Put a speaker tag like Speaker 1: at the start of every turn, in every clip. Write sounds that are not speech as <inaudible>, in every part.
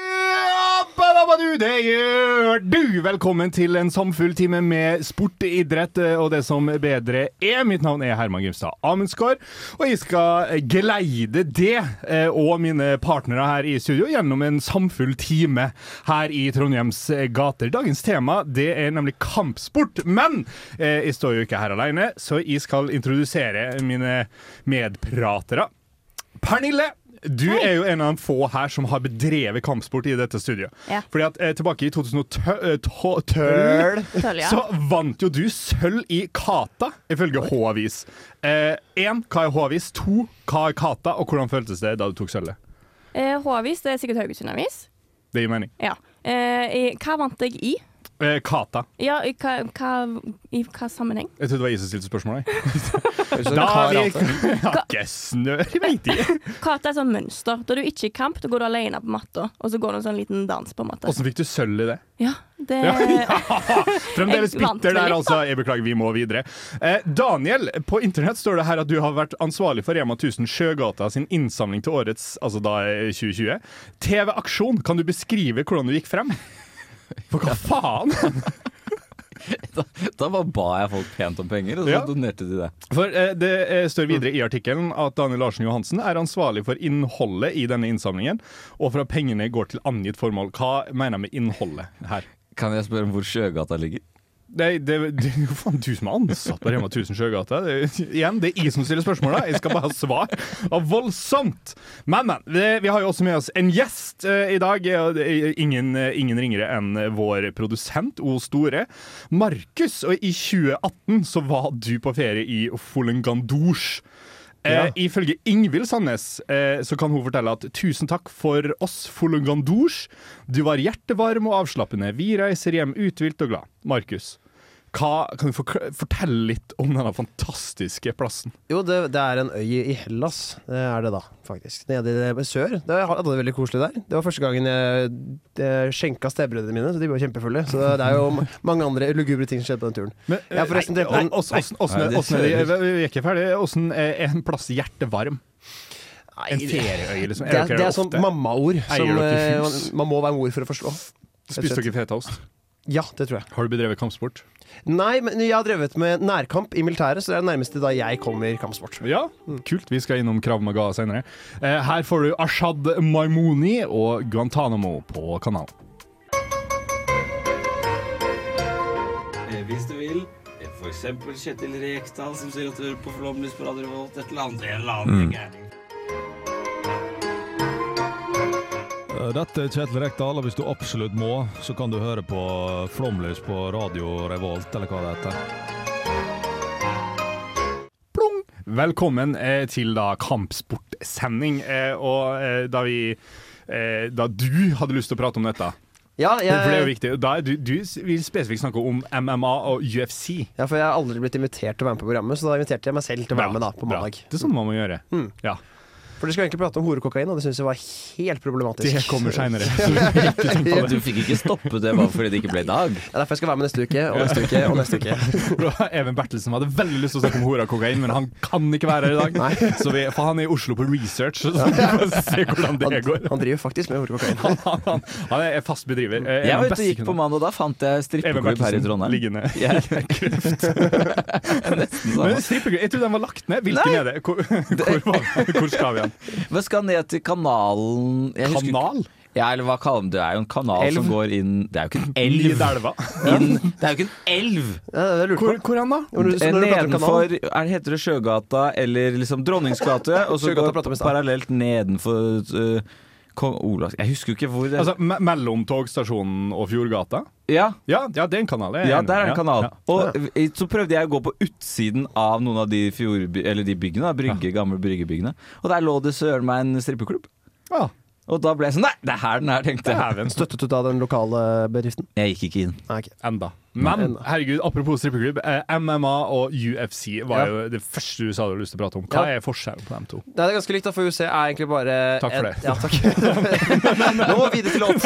Speaker 1: Ja, ba, ba, ba, du, det gjør du! Velkommen til en samfull time med sport, idrett eh, og det som bedre er. Mitt navn er Herman Grimstad Amundsgaard, og jeg skal eh, geleide det eh, og mine partnere her i studio gjennom en samfull time her i Trondheims eh, gater. Dagens tema det er nemlig kampsport, men eh, jeg står jo ikke her alene, så jeg skal introdusere mine medpratere. Pernille, du er jo en av de få her som har bedrevet kampsport i dette studioet.
Speaker 2: Ja.
Speaker 1: Fordi at eh, tilbake i 2012
Speaker 2: Tøll, ja.
Speaker 1: eh, så vant jo du sølv i Kata, ifølge H-avis. Én, hva er H-avis? To, hva er Kata? Og hvordan føltes det da du tok sølvet?
Speaker 2: Eh, H-avis, det er sikkert Haugesund-avis.
Speaker 1: Det gir mening.
Speaker 2: Ja. Eh, i- hva vant jeg i?
Speaker 1: Eh, Kata.
Speaker 2: Ja, i hva, hva, i hva sammenheng?
Speaker 1: Jeg trodde det var jeg som stilte spørsmålet. Da
Speaker 3: Da
Speaker 1: vi <laughs> Ikke snør, jeg veit ikke.
Speaker 2: Kata er sånn mønster. Da du ikke er i kamp, da går du alene på matta, og så går det en sånn liten dans, på en måte.
Speaker 1: Åssen fikk du sølv i det?
Speaker 2: Ja, <laughs> det
Speaker 1: Fremdeles
Speaker 2: Jeg vant
Speaker 1: bitter der,
Speaker 2: vel litt,
Speaker 1: altså. Jeg beklager, vi må videre. Eh, Daniel, på internett står det her at du har vært ansvarlig for Rema 1000 Sjøgata sin innsamling til årets, altså da eh, 2020. TV Aksjon, kan du beskrive hvordan du gikk frem? For hva faen?
Speaker 3: <laughs> Da bare ba jeg folk pent om penger, og så
Speaker 1: Ja.
Speaker 3: donerte de det.
Speaker 1: For eh, Det eh, står videre i artikkelen at Daniel Larsen Johansen er ansvarlig for innholdet i denne innsamlingen, og for at pengene går til angitt formål. Hva mener jeg med innholdet her?
Speaker 3: Kan jeg spørre om hvor Sjøgata ligger?
Speaker 1: Nei, det, det <laughs> er jo faen du som er ansatt på Rema 1000 Sjøgata. Det, er- igjen, det er jeg som stiller spørsmåla. Jeg skal bare ha svar. Det var voldsomt! Men, men. det- Vi har jo også med oss en gjest eh, i dag. og det er Ingen, eh, ingen ringere enn vår produsent, O Store. Markus, og i 2018 så var du på ferie i Folengandouche. Eh, Ifølge Ingvild Sandnes eh, så kan hun fortelle at tusen takk for oss, Folungandouche. Du var hjertevarm og avslappende. Vi reiser hjem uthvilt og glad. Markus, hva, kan du forkl- fortelle litt om denne fantastiske plassen?
Speaker 4: Jo, det, det er en øy i Hellas, det er det da, faktisk. Nede i det- sør. Det jeg hadde det veldig koselig der. Det var første gangen jeg eh, skjenka stebrødrene mine, så de var kjempefulle. Så det er jo
Speaker 1: <laughs>
Speaker 4: m- mange andre lugubre ting som skjedde på den turen. Jeg har forresten delt
Speaker 1: eh, nei,
Speaker 4: en-
Speaker 1: åssen- åssen-
Speaker 3: Nei,
Speaker 1: åssen-
Speaker 3: det
Speaker 1: åssen er det- Vi er ikke ferdige. Åssen er en plass hjertevarm?
Speaker 4: Nei,
Speaker 1: En
Speaker 4: det,
Speaker 1: ferieøy, liksom.
Speaker 4: det, er, det er sånn
Speaker 1: sånn
Speaker 4: mammaord som
Speaker 1: dere
Speaker 4: eh, man,
Speaker 1: hus?
Speaker 4: man må være mor for å forstå.
Speaker 1: Spiste dere fetaost?
Speaker 4: Ja, det tror jeg.
Speaker 1: Har du bedrevet kampsport?
Speaker 4: Nei, men jeg har drevet med nærkamp i militæret, så det er det nærmeste da jeg kommer kampsport.
Speaker 1: Ja,
Speaker 4: Mm.
Speaker 1: kult. Vi skal innom Krav Maga senere. Eh, Her får du Ashad Maimouni og Guantánamo på kanalen.
Speaker 5: Eh, Hvis du vil, eh, for eksempel Kjetil Rekdal som sier at du hører på Flåmlys på Radio Revolt, et eller annet, en eller annen gærning.
Speaker 6: Dette er Kjetil Rekdal, og hvis du absolutt må, så kan du høre på Flomlys på Radio Revolt, eller hva det heter.
Speaker 1: Plong! Velkommen eh, til da kampsportsending. Eh, og eh, da vi eh, Da du hadde lyst til å prate om dette,
Speaker 4: Ja, jeg,
Speaker 1: for det er jo viktig Da er du, du vil spesifikt snakke om MMA og UFC.
Speaker 4: ja, for jeg har aldri blitt invitert til å være med på programmet, så da inviterte jeg meg selv til å
Speaker 1: Bra,
Speaker 4: være med da, på
Speaker 1: bra.
Speaker 4: mandag. Mm.
Speaker 1: Det er sånn man må gjøre. Ja,
Speaker 4: For de skulle egentlig prate om horekokain, og det syns jeg var helt problematisk.
Speaker 1: Det kommer
Speaker 4: <laughs>
Speaker 1: seinere.
Speaker 3: Og du fikk ikke stoppet det bare fordi det ikke ble
Speaker 6: <laughs>
Speaker 3: i dag.
Speaker 4: Det er derfor jeg skal være med neste uke, og neste uke, og neste uke.
Speaker 1: <laughs> Even Bertelsen hadde veldig lyst til å snakke om hora og kokain, men han kan ikke være her i dag. Så vi, for han er i Oslo på research, så vi får se hvordan det
Speaker 4: Han,
Speaker 1: går.
Speaker 4: han driver faktisk med
Speaker 1: <laughs>
Speaker 4: horekokain.
Speaker 1: Han, han, han er fast bedriver. Eh,
Speaker 3: Jeg
Speaker 1: en av beste
Speaker 3: var ute og gikk på
Speaker 1: kunne-
Speaker 3: mandag, da fant jeg
Speaker 1: Even
Speaker 3: strippeklubb her i
Speaker 1: Bertelsen
Speaker 3: Trondheim.
Speaker 1: liggende.
Speaker 3: <laughs> Jeg, <laughs> nesten
Speaker 1: Men
Speaker 3: samme.
Speaker 1: strippeklubb, jeg trodde den var lagt ned. Hvilken
Speaker 3: Nei.
Speaker 1: er det? Hvor, hvor, var den? hvor skal vi hen?
Speaker 3: Men skal ned til kanalen jeg husker ikke-
Speaker 1: Kanal?
Speaker 3: Ja, eller hva kaller man det? Det er jo en kanal
Speaker 4: Elv.
Speaker 3: som går inn Det er jo ikke en
Speaker 1: Liv
Speaker 3: elv!
Speaker 1: elva.
Speaker 3: Inn, det er jo ikke en elv!
Speaker 4: Ja, det er lurt på.
Speaker 1: Hvor, hvor hen da?
Speaker 4: Når du- så når du prater om kanal-
Speaker 3: Nedenfor er, Heter det Sjøgata eller liksom Dronningsgate? Og så
Speaker 4: Sjøgata
Speaker 3: går
Speaker 4: prater vi om i stad.
Speaker 3: parallelt nedenfor uh, Kong Olavs Jeg husker jo ikke hvor det
Speaker 1: Altså, me Mellom togstasjonen og Fjordgata?
Speaker 3: Ja,
Speaker 1: Ja, ja det er en kanal. jeg
Speaker 3: ja
Speaker 1: enig.
Speaker 3: der er en
Speaker 1: Ja,
Speaker 3: kanal.
Speaker 1: ja.
Speaker 3: Og eh, så prøvde jeg å gå på utsiden av noen av de, fjord, eller de byggene, da, brygge, gamle bryggebyggene. Og der lå det søren meg en strippeklubb.
Speaker 1: Ja.
Speaker 3: Og da ble jeg sånn Nei, det er her den er, tenkte jeg.
Speaker 4: Støttet du da den lokale bedriften?
Speaker 3: Jeg gikk ikke inn.
Speaker 4: Nei, ikke.
Speaker 1: Enda. Men
Speaker 4: Enda.
Speaker 1: herregud, apropos strippeklubb. Eh, MMA og UFC var jo det første du sa du hadde lyst til å prate om. Hva
Speaker 4: Ja.
Speaker 1: er forskjellen på dem to?
Speaker 4: Nei, det er ganske likt, da, for UC er egentlig bare
Speaker 1: Takk for
Speaker 4: et-
Speaker 1: det.
Speaker 4: Ja,
Speaker 1: <laughs>
Speaker 4: takk. Nå må vi videre til låt.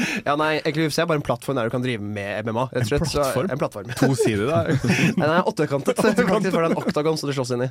Speaker 1: <laughs>
Speaker 4: ja, nei, egentlig UFC er bare en plattform der du kan drive med MMA. Rett og slett. Så-
Speaker 1: plattform?
Speaker 4: En plattform?
Speaker 1: To sider
Speaker 4: <laughs>
Speaker 1: der.
Speaker 4: Nei, den er
Speaker 1: <laughs>
Speaker 4: åttekantet. Faktisk, for det er en oktagon som du slåss inn i.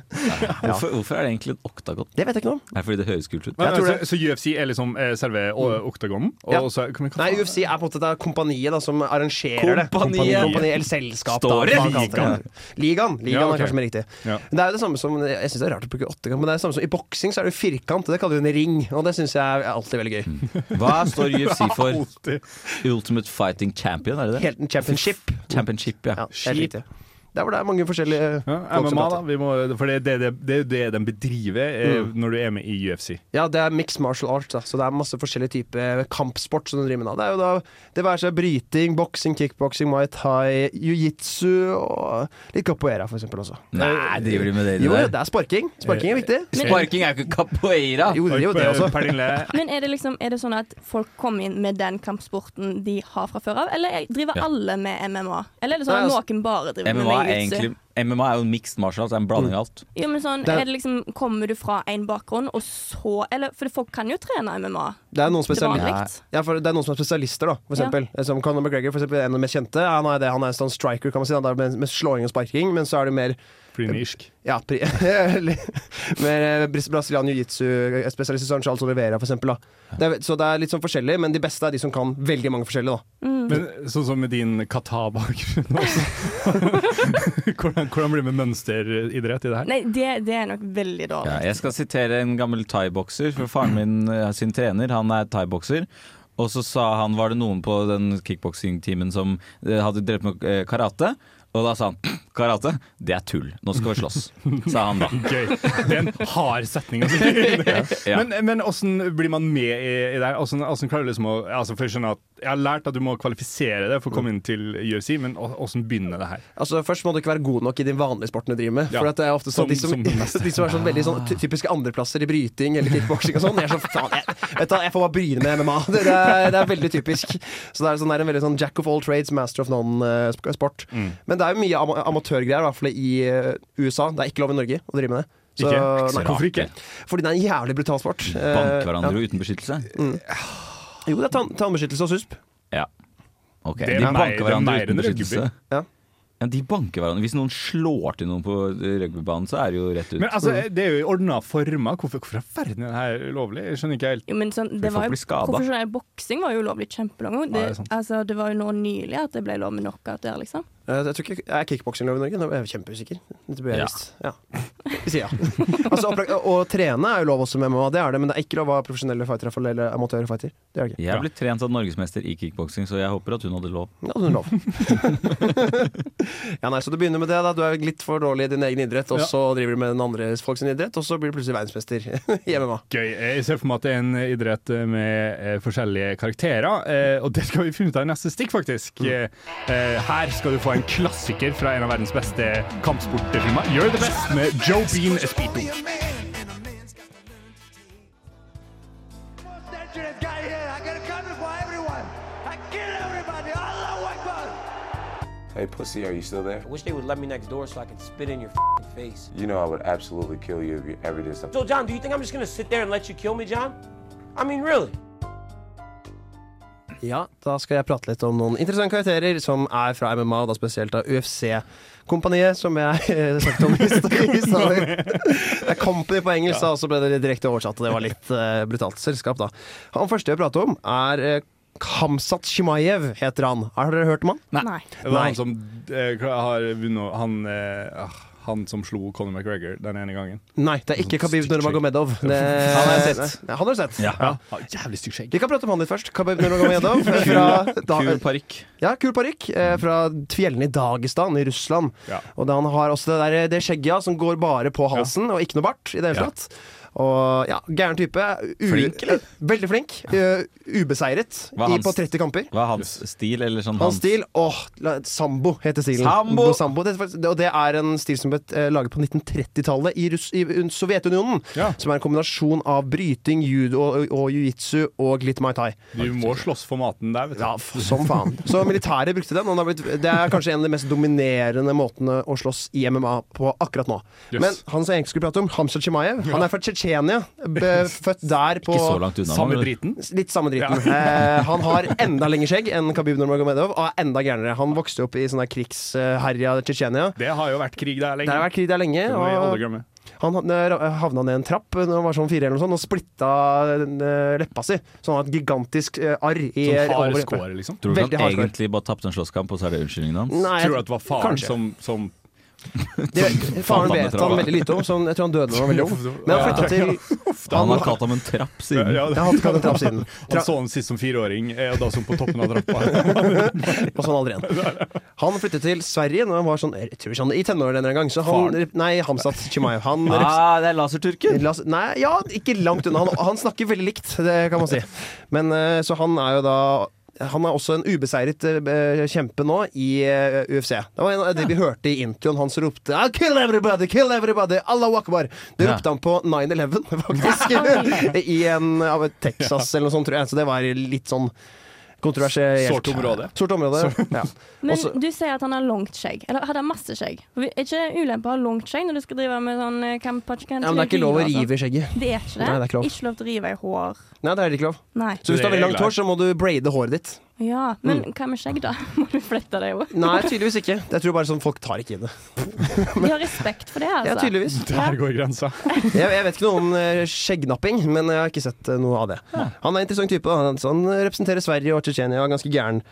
Speaker 3: Hvorfor, hvorfor er det egentlig en oktagon?
Speaker 4: Det vet jeg ikke noe om.
Speaker 3: Er det fordi det høres kult ut?
Speaker 1: Men,
Speaker 4: tror Mm.
Speaker 1: så, så UFC er liksom eh, selve o- oktagonen? Og
Speaker 4: Ja.
Speaker 1: så, kan vi kalle
Speaker 4: Nei,
Speaker 1: det-
Speaker 4: UFC er på en måte det er kompaniet da, som arrangerer det.
Speaker 3: Kompaniet.
Speaker 4: Kompaniet eller selskap.
Speaker 3: Står
Speaker 4: da,
Speaker 3: det
Speaker 4: hva man kaller
Speaker 1: ligaen?
Speaker 4: Ligaen, ligaen
Speaker 1: Ja, ok.
Speaker 4: er kanskje mer riktig.
Speaker 1: Ja.
Speaker 4: Men Det er jo det samme som Jeg synes det er rart å bruke åttekamp, men det er det samme som i boksing så er det jo firkant. Det kaller du en ring, og det syns jeg er alltid veldig
Speaker 1: Mm.
Speaker 4: gøy.
Speaker 3: Hva står UFC for?
Speaker 1: Alltid.
Speaker 3: Ultimate Fighting Champion, er det det?
Speaker 4: Helt en championship.
Speaker 3: Championship, ja.
Speaker 4: Ja, helt riktig. Der hvor det er mange forskjellige
Speaker 1: Ja,
Speaker 4: folk som
Speaker 1: MMA, da.
Speaker 4: prater.
Speaker 1: Vi må, for det er det, det, det, er jo det de bedriver eh, når du er med i UFC.
Speaker 4: Ja, Mm. det er mixed martial arts, da. så det er masse forskjellige typer eh, kampsport som de driver med. da. Det er jo da det være seg bryting, boksing, kickboksing, mai thai, jiu-jitsu og litt capoeira for eksempel også.
Speaker 3: Nei, driver de med det
Speaker 4: Jo,
Speaker 3: der?
Speaker 4: det er sparking. Sparking er
Speaker 3: Eh,
Speaker 4: viktig.
Speaker 2: Men-
Speaker 3: Sparking er jo ikke capoeira!
Speaker 4: Jo, det er jo det også.
Speaker 1: Pernille,
Speaker 2: Men er det, liksom, er det sånn at folk kommer inn med den kampsporten de har fra før av, eller driver alle med MMA? Eller er det sånn
Speaker 4: Nei,
Speaker 2: at noen
Speaker 4: altså-
Speaker 2: bare driver
Speaker 3: MMA er,
Speaker 2: med
Speaker 3: egentlig,
Speaker 2: jiu-jitsu?
Speaker 3: MMA er jo en mixed martial arts, det er en blanding av alt.
Speaker 2: Jo, men sånn,
Speaker 4: Det er-
Speaker 2: er det liksom, kommer du fra én bakgrunn, og så eller, For folk kan jo trene MMA
Speaker 4: Det er noen
Speaker 2: til
Speaker 4: spesial-
Speaker 2: vanlig.
Speaker 4: Ja, for det er noen som er spesialister, da, for eksempel. Eh, Som Conor McGregor, for eksempel, en av de mest kjente. Han er, det, han er en sånn striker, kan man si. Han er med, med slåing og sparking, men så er det mer <laughs>
Speaker 1: Frynisk.
Speaker 4: Ja, pri <laughs> eller mer eh, bris- eh, brasilian jiu-jitsu-spesialist som Charles Olivera, for eksempel. Da. Det er, så det er litt sånn forskjellig, men de beste er de som kan veldig mange forskjellige, da.
Speaker 1: Men sånn som med din kata-bakgrunn også. <laughs> hvordan, hvordan blir det med mønsteridrett i det her?
Speaker 2: Nei, det, det er nok veldig dårlig.
Speaker 3: Ja, jeg skal sitere en gammel thaibokser, for faren min eh, sin trener, han er thaibokser. Og så sa han, var det noen på den kickboksingtimen som eh, hadde drevet med eh, karate? Og da sa han <clears throat> karate, det er tull, nå skal vi slåss, sa han da.
Speaker 1: <laughs> Gøy. Det er en hard setning. Altså.
Speaker 3: Ja.
Speaker 1: Men, men hvordan blir man med i, i det her? Hvordan, hvordan klarer du liksom å altså, for jeg, skjønner at, jeg har lært at du må kvalifisere deg for å komme inn til UFC, men å- hvordan begynner det her?
Speaker 4: Altså, Først må du ikke være god nok i den vanlige sporten du driver med.
Speaker 1: Ja.
Speaker 4: For at det er ofte sånn
Speaker 1: Som-
Speaker 4: de som,
Speaker 1: som den beste.
Speaker 4: <laughs>
Speaker 1: Ah.
Speaker 4: de som er sånn veldig sånn ty- typiske andreplasser i bryting eller kickboksing og sånn. Jeg er sånn, faen, jeg, vet du, hva, jeg får bare bryne med MMA. Det, det, er, det er veldig typisk. Så det er, sånn, det er en veldig sånn jack of all trades, master of none-sport.
Speaker 1: Mm.
Speaker 4: Men det er jo mye ama amatørgreier, i hvert fall i eh, USA. Det er ikke lov i Norge å drive med det. Så,
Speaker 1: Ikke?
Speaker 4: nei,
Speaker 1: Hvorfor ikke?
Speaker 4: fordi det er en jævlig brutal sport. Eh,
Speaker 3: Banke
Speaker 4: ja.
Speaker 3: hverandre uten beskyttelse?
Speaker 4: Jo, det er tann tannbeskyttelse og susp.
Speaker 3: Ja. Ok,
Speaker 1: Det er
Speaker 3: de
Speaker 1: mer- det
Speaker 3: banker
Speaker 1: er
Speaker 3: hverandre
Speaker 1: mer
Speaker 3: uten
Speaker 1: enn rugby.
Speaker 3: beskyttelse.
Speaker 4: Ja.
Speaker 3: Ja, de banker hverandre. Hvis noen slår til noen på eh, rugbybanen, så er det jo rett ut.
Speaker 1: Men altså, det er jo i ordna former. Hvorfor, hvorfor er verden er det her ulovlig? Jeg skjønner ikke helt.
Speaker 2: Jo, men sånn,
Speaker 3: For
Speaker 2: det
Speaker 3: folk
Speaker 2: var jo,
Speaker 3: blir skadet.
Speaker 2: profesjonell boksing var jo ulovlig kjempelang gang. Det,
Speaker 1: Ja, det er sant.
Speaker 2: altså, det var jo nå nylig at det ble lov med knockout der, liksom.
Speaker 4: Eh, Jeg tror ikke, Er kickboksing lov i Norge? Nå er jeg kjempeusikker. Dette burde
Speaker 3: Ja.
Speaker 4: jeg visst. Ja. Vi sier ja. <laughs> altså, opplag- å, å trene er jo lov også med MMA, det er det, men det er ikke lov å være profesjonelle fightere for- eller amatørfighter. Det er det ikke.
Speaker 3: Jeg ble trent av norgesmester i kickboksing, så jeg håper at hun hadde lov.
Speaker 4: Ja, det
Speaker 3: <laughs>
Speaker 4: er lov. ja, nei, så du begynner med det, da. Du er litt for dårlig i din egen idrett, og
Speaker 1: Ja.
Speaker 4: så driver du med den andre folk sin idrett, og så blir du plutselig verdensmester i MMA.
Speaker 1: Gøy. Jeg ser for meg at det er en idrett med eh, forskjellige karakterer, eh, og det skal vi finne ut av i neste stikk, faktisk. Eh, eh, Her skal du få en klassiker fra en av verdens beste kampsportfilmer, You're the Best, med Joe Bean Espito.
Speaker 7: Hey, pussy, are you still there?
Speaker 8: wish they would let me next door so I could spit in your face.
Speaker 7: You know I would absolutely kill you if you ever did something.
Speaker 8: So, John, do you think I'm just gonna sit there and let you kill me, John? I mean, really?
Speaker 4: Ja, da skal jeg prate litt om noen interessante karakterer som er fra MMA, og da spesielt av UFC-kompaniet, som jeg <laughs> eh, snakket om i stad.
Speaker 3: <laughs>
Speaker 4: i stad. Det er Company på engelsk, da, og så ble det litt direkte oversatt, og det var litt eh, brutalt selskap, da. Han første jeg prater om, er eh, Kamsat Shimaev, heter han. Har dere hørt om han?
Speaker 2: Nei.
Speaker 1: Det var
Speaker 4: Nei.
Speaker 1: han som eh, har vunnet han, eh, ah, han som slo Conor McGregor den ene gangen.
Speaker 4: Nei, det er ikke Khabib Nurmagomedov. Det,
Speaker 3: Han har jeg sett.
Speaker 4: Nei, Han har du sett.
Speaker 3: Ja.
Speaker 1: Ah, Jævlig stygg skjegg.
Speaker 4: Vi kan prate om han litt først.
Speaker 3: <laughs>
Speaker 4: Khabib Nurmagomedov fra da,
Speaker 3: Kul parykk.
Speaker 4: Ja, kul parykk eh,
Speaker 3: Mm.
Speaker 4: fra fjellene i Dagestan i Russland.
Speaker 1: Ja.
Speaker 4: Og da han har også det, der, det skjegget ja, som går bare på halsen, og ikke noe bart. i det hele
Speaker 1: Ja.
Speaker 4: tatt Og ja, gæren type. U
Speaker 3: Flink, eller?
Speaker 4: Veldig flink. eh, ubeseiret
Speaker 3: Hva er
Speaker 4: i,
Speaker 3: hans-
Speaker 4: på 30 kamper.
Speaker 3: Hva er hans stil? Eller sånn
Speaker 4: Hans stil åh, la- Sambo heter stilen.
Speaker 3: Sambo!
Speaker 4: Sambo det, er faktisk- og det er en stil som ble eh, laget på 1930-tallet i, Russ- i un- Sovjetunionen. Som er en kombinasjon av bryting, judo og, og jiu-jitsu og litt mai tai.
Speaker 1: Du må slåss for maten der, vet du.
Speaker 4: Ja, f- som faen. <laughs> Så militæret brukte den. Og den har blitt, det er kanskje en av de mest dominerende måtene å slåss i MMA på akkurat nå.
Speaker 1: Yes.
Speaker 4: Men han som jeg egentlig skulle prate om, Hamza Chimaev, han er fra Tsjetsjenia. ble Født der på
Speaker 3: Ikke så langt unna.
Speaker 1: Samme
Speaker 3: men-
Speaker 1: driten.
Speaker 4: Litt samme driten. Eh, han har enda lengre skjegg enn Khabib Nurmagomedov og er enda gærnere. Han vokste opp i sånn der krigsherja Tsjetsjenia.
Speaker 1: Det har jo vært krig der
Speaker 4: Det
Speaker 1: lenge.
Speaker 4: har vært krig der lenge.
Speaker 1: Det må vi aldri
Speaker 4: Og
Speaker 1: glemme.
Speaker 4: han havna- havna ned en trapp da han var sånn fire eller noe sånt, og splitta eh, leppa si. Så han har et gigantisk eh, arr i
Speaker 1: Sånn hard
Speaker 4: over leppa.
Speaker 1: score, liksom.
Speaker 3: Tror du
Speaker 4: Veldig
Speaker 3: ikke han
Speaker 4: hard score.
Speaker 3: egentlig bare tapte en slåsskamp, og så er det unnskyldningen hans?
Speaker 4: Nei,
Speaker 1: Tror du at det var faren
Speaker 4: kanskje.
Speaker 1: som, som
Speaker 4: Det, faren
Speaker 3: Faen,
Speaker 4: vet
Speaker 3: han
Speaker 4: han
Speaker 3: er
Speaker 4: veldig lite om, så han- jeg tror han døde da han var veldig ung. Men han flytta til
Speaker 1: <laughs>
Speaker 3: Han har
Speaker 4: <laughs>
Speaker 3: kalt ham en trapp siden.
Speaker 1: Ja, det-
Speaker 4: Jeg har hatt katt en trapp siden.
Speaker 1: <laughs> Han så den sist som fireåring, eh, og da som på toppen av trappa. <laughs>
Speaker 4: Og sånn aldri igjen. Han flyttet til Sverige når han var sånn jeg tror ikke han, i tenårene en gang. Så han, nei, Hamzat Chimaev. Han reps-
Speaker 3: Ah, det er laserturken!
Speaker 4: La oss- Nei, ja, ikke langt unna. Han, han snakker veldig likt, det kan man si. Men eh, så han er jo da han er også en ubeseiret eh, kjempe nå i eh, UFC. Det var en av de vi hørte i introen. Han som ropte "Ah, 'Kill everybody! Kill everybody! Allahu akbar!' Det
Speaker 3: Ja.
Speaker 4: ropte han på 9-11, <laughs> faktisk. I en av Texas eller noe sånt, tror jeg. Så det var litt sånn kontroversielt.
Speaker 1: Sort område.
Speaker 4: Sort område, ja.
Speaker 2: Men
Speaker 4: Også-
Speaker 2: du sier at han har langt skjegg. Eller hadde han masse skjegg? For vi- Er ikke ulempe å ha langt skjegg når du skal drive med sånn eh, kamp,
Speaker 4: Ja, men det er ikke lov å rive i skjegget.
Speaker 2: altså? Det er ikke det.
Speaker 4: Nei, det er ikke lov.
Speaker 2: Ikke lov til å rive i hår.
Speaker 4: Nei, det er ikke lov.
Speaker 2: Nei.
Speaker 4: Så hvis du har veldig langt
Speaker 1: Regler.
Speaker 4: hår, så må du braide håret ditt.
Speaker 2: Ja, men hva med skjegg, da? <laughs> Må du flette deg òg?
Speaker 4: Nei, tydeligvis ikke. Jeg tror bare sånn folk tar ikke i det.
Speaker 2: De har respekt for det, altså.
Speaker 4: Ja, tydeligvis.
Speaker 1: Der går grensa.
Speaker 4: <laughs> Jeg, jeg vet ikke noe om eh, skjeggnapping, men jeg har ikke sett eh, noe av det. Han er en interessant type. da. Han, så han representerer Sverige og Tsjetsjenia, ganske gæren.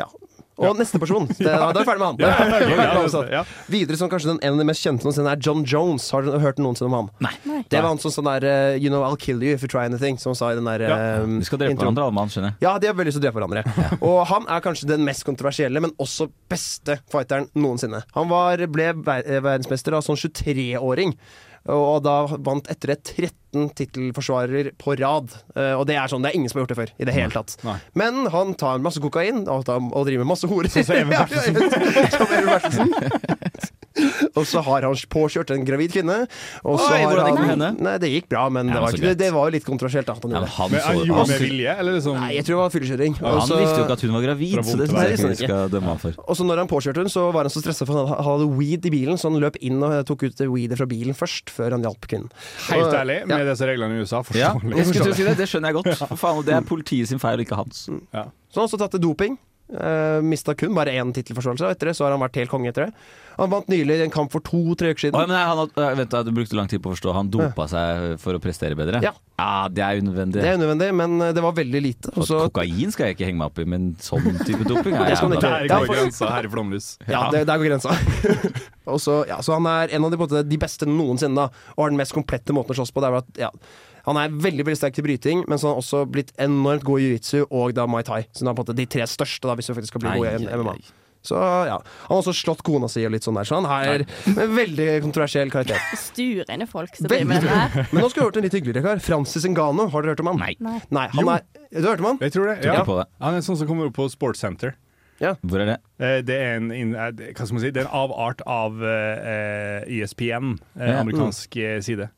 Speaker 4: Ja. Og neste person. Det, da er vi ferdig med han. Da er vi <laughs> ferdig med han.
Speaker 1: ja, ja.
Speaker 4: Videre som kanskje den, en av de mest kjente noensinne er John Jones. Har du hørt noensinne om han?
Speaker 2: Nei.
Speaker 4: Det var han som sånn der eh, You know I'll kill you if you try anything, som han sa i den der eh,
Speaker 3: Vi skal drepe
Speaker 4: introen.
Speaker 3: hverandre, alle mann, skjønner jeg.
Speaker 4: Ja, de har veldig lyst til å drepe hverandre. Og han er kanskje den mest kontroversielle, men også beste fighteren noensinne. Han var, ble ver eh, verdensmester da som 23-åring. Og da vant etter det 13 tittelforsvarer på rad. Eh, Og det er sånn, det er ingen som har gjort det før. I det hele tatt
Speaker 1: Nei.
Speaker 4: Men han tar masse kokain og, tar, og driver med masse horer. Som <laughs>
Speaker 1: Even
Speaker 4: Even Bertelsen. <laughs> og så har han påkjørt en gravid kvinne. Og så
Speaker 3: Oi,
Speaker 4: har
Speaker 3: hvordan gikk det
Speaker 4: han-
Speaker 3: med henne?
Speaker 4: Nei, det gikk bra, men
Speaker 3: Ja,
Speaker 4: det, var
Speaker 3: så
Speaker 4: ikke, det,
Speaker 3: greit.
Speaker 4: det var jo litt kontroversielt. Da, at han
Speaker 3: Ja,
Speaker 4: gjorde
Speaker 3: men
Speaker 4: det.
Speaker 3: han
Speaker 1: Men han
Speaker 3: så-
Speaker 1: gjorde
Speaker 3: han-
Speaker 1: det med vilje, eller liksom
Speaker 4: Nei, jeg tror det var fyllekjøring.
Speaker 3: Han
Speaker 4: Og så-
Speaker 3: visste jo ikke at hun var gravid, så det
Speaker 4: vondt å
Speaker 3: synes
Speaker 4: være.
Speaker 3: jeg ikke vi skal dømme han for.
Speaker 4: Og så når han påkjørte hun, så var han så stressa for han hadde- han hadde weed i bilen, så han løp inn og tok ut weedet fra bilen først, før han hjalp kvinnen.
Speaker 1: Helt
Speaker 4: Og-
Speaker 1: ærlig, med disse reglene i USA,
Speaker 3: Ja,
Speaker 1: <laughs> forståelig.
Speaker 3: jeg skulle til å si det, det skjønner jeg godt. For faen, Det er politiet sin feil, ikke hans.
Speaker 4: Så han har også tatt til doping. Uh, Mista kun bare én tittelforståelse, og etter det så har han vært helt konge etter det. Han vant nylig en kamp for to-tre
Speaker 3: Å,
Speaker 4: uker siden.
Speaker 3: men han, had- øh, vent, da, Du brukte lang tid på å forstå. Han dopa seg for å prestere bedre? Ah,
Speaker 4: Ja.
Speaker 3: det er unødvendig.
Speaker 4: Det er unødvendig, men eh, det var veldig lite. Og
Speaker 3: Og
Speaker 4: så
Speaker 3: kokain skal jeg ikke henge meg opp i, men sånn type doping er
Speaker 4: Det skal man
Speaker 3: jævla-
Speaker 4: ikke.
Speaker 1: Der
Speaker 4: Ja,
Speaker 1: går
Speaker 4: for-
Speaker 1: grensa her i Flomlys.
Speaker 4: Ja, det, der går grensa. <laughs> og så, ja, så han er en av de, på en måte, de beste noensinne, da, og har den mest komplette måten å slåss på. Det er vel at, ja, han er veldig veldig sterk til bryting, men så har han også blitt enormt god i jiu-jitsu og da mai tai. Så han er på en måte de tre største, da, hvis du faktisk skal bli
Speaker 3: Ai,
Speaker 4: god i
Speaker 3: ai,
Speaker 4: MMA.
Speaker 3: ai.
Speaker 4: Så ja, Han har også slått kona si og litt sånn der, så han er <laughs> en veldig kontroversiell karakter.
Speaker 2: Stureine folk som driver
Speaker 4: Veldig.
Speaker 2: med det
Speaker 4: <laughs>
Speaker 2: her.
Speaker 4: Men nå skal du høre en litt hyggeligere kar. Francis Ngannou, har dere hørt om han?
Speaker 3: Nei.
Speaker 2: Nei.
Speaker 4: Nei han er, du hørte om han?
Speaker 1: Jeg tror det.
Speaker 3: Tror
Speaker 1: Ja.
Speaker 3: ikke på det.
Speaker 1: Han er sånn som kommer opp på Sports Center.
Speaker 3: Hvor er det?
Speaker 1: Eh, Det er en, inn- eh, det- hva skal man si, det er en avart av eh, eh, ESPN, eh,
Speaker 3: Ja.
Speaker 1: amerikansk eh, side.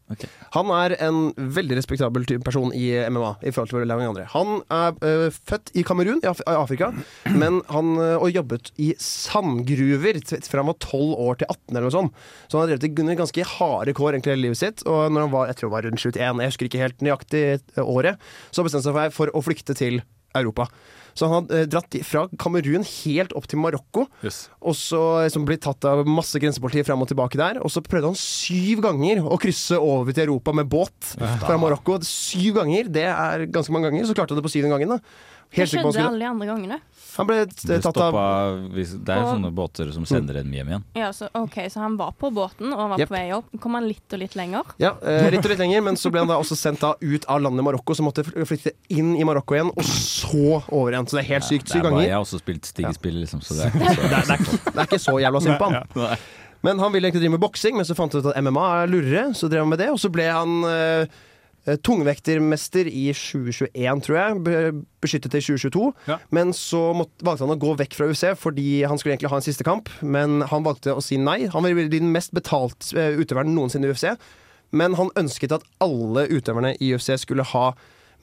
Speaker 4: Han er en veldig respektabel type person i MMA. i forhold til veldig mange andre. Han er øh, født i Kamerun, i Af i Afrika, men han øh, og jobbet i sandgruver t- fra han var 12 år til 18. eller noe sånt. Så han har drevet i gun- ganske harde kår egentlig hele livet sitt. Og når han var, jeg tror det var rundt 71, jeg husker ikke helt nøyaktig øh, året, så bestemte han seg for å flykte til Europa. Så han har øh, dratt i- fra Kamerun helt opp til Marokko. Og så liksom, ble tatt av masse grensepoliti fram og tilbake der. Og så prøvde han syv ganger å krysse over til Europa med båt fra Marokko. Syv ganger, det er ganske mange ganger. Så klarte han det på syvende gangen. da.
Speaker 2: Det
Speaker 4: Helt sikker på
Speaker 2: skjedde
Speaker 4: han skulle
Speaker 2: alle de andre gangene.
Speaker 4: Han ble
Speaker 3: Det,
Speaker 4: eh, tatt av
Speaker 3: stoppa- hvis- det er jo
Speaker 2: Og-
Speaker 3: sånne båter som sender en hjem igjen.
Speaker 2: Ja, så, OK, så han var på båten og han var
Speaker 4: Jepp.
Speaker 2: på vei opp. Kom han litt og litt lenger?
Speaker 4: ja, eh, litt og litt lenger, men så ble han da også sendt da ut av landet Marokko, så måtte fly- flytte inn i Marokko igjen, og så over igjen. Så det er helt sykt.
Speaker 3: Det er
Speaker 4: Syv
Speaker 3: bare,
Speaker 4: ganger. <laughs>
Speaker 3: jeg har også spilt stigespill, liksom, så det er ikke så
Speaker 4: Det er ikke så jævla synd på han. Men han ville egentlig drive med boksing, men så fant han ut at MMA er lurere, så drev han med det. Og så ble han eh, eh, tungvektermester i 2021, tror jeg. be- Beskyttet til 2022. Men så måtte, valgte han å gå vekk fra UFC fordi han skulle egentlig ha en siste kamp, men han valgte å si nei. Han ville bli den mest betalt eh, utøveren noensinne i UFC. Men han ønsket at alle utøverne i UFC skulle ha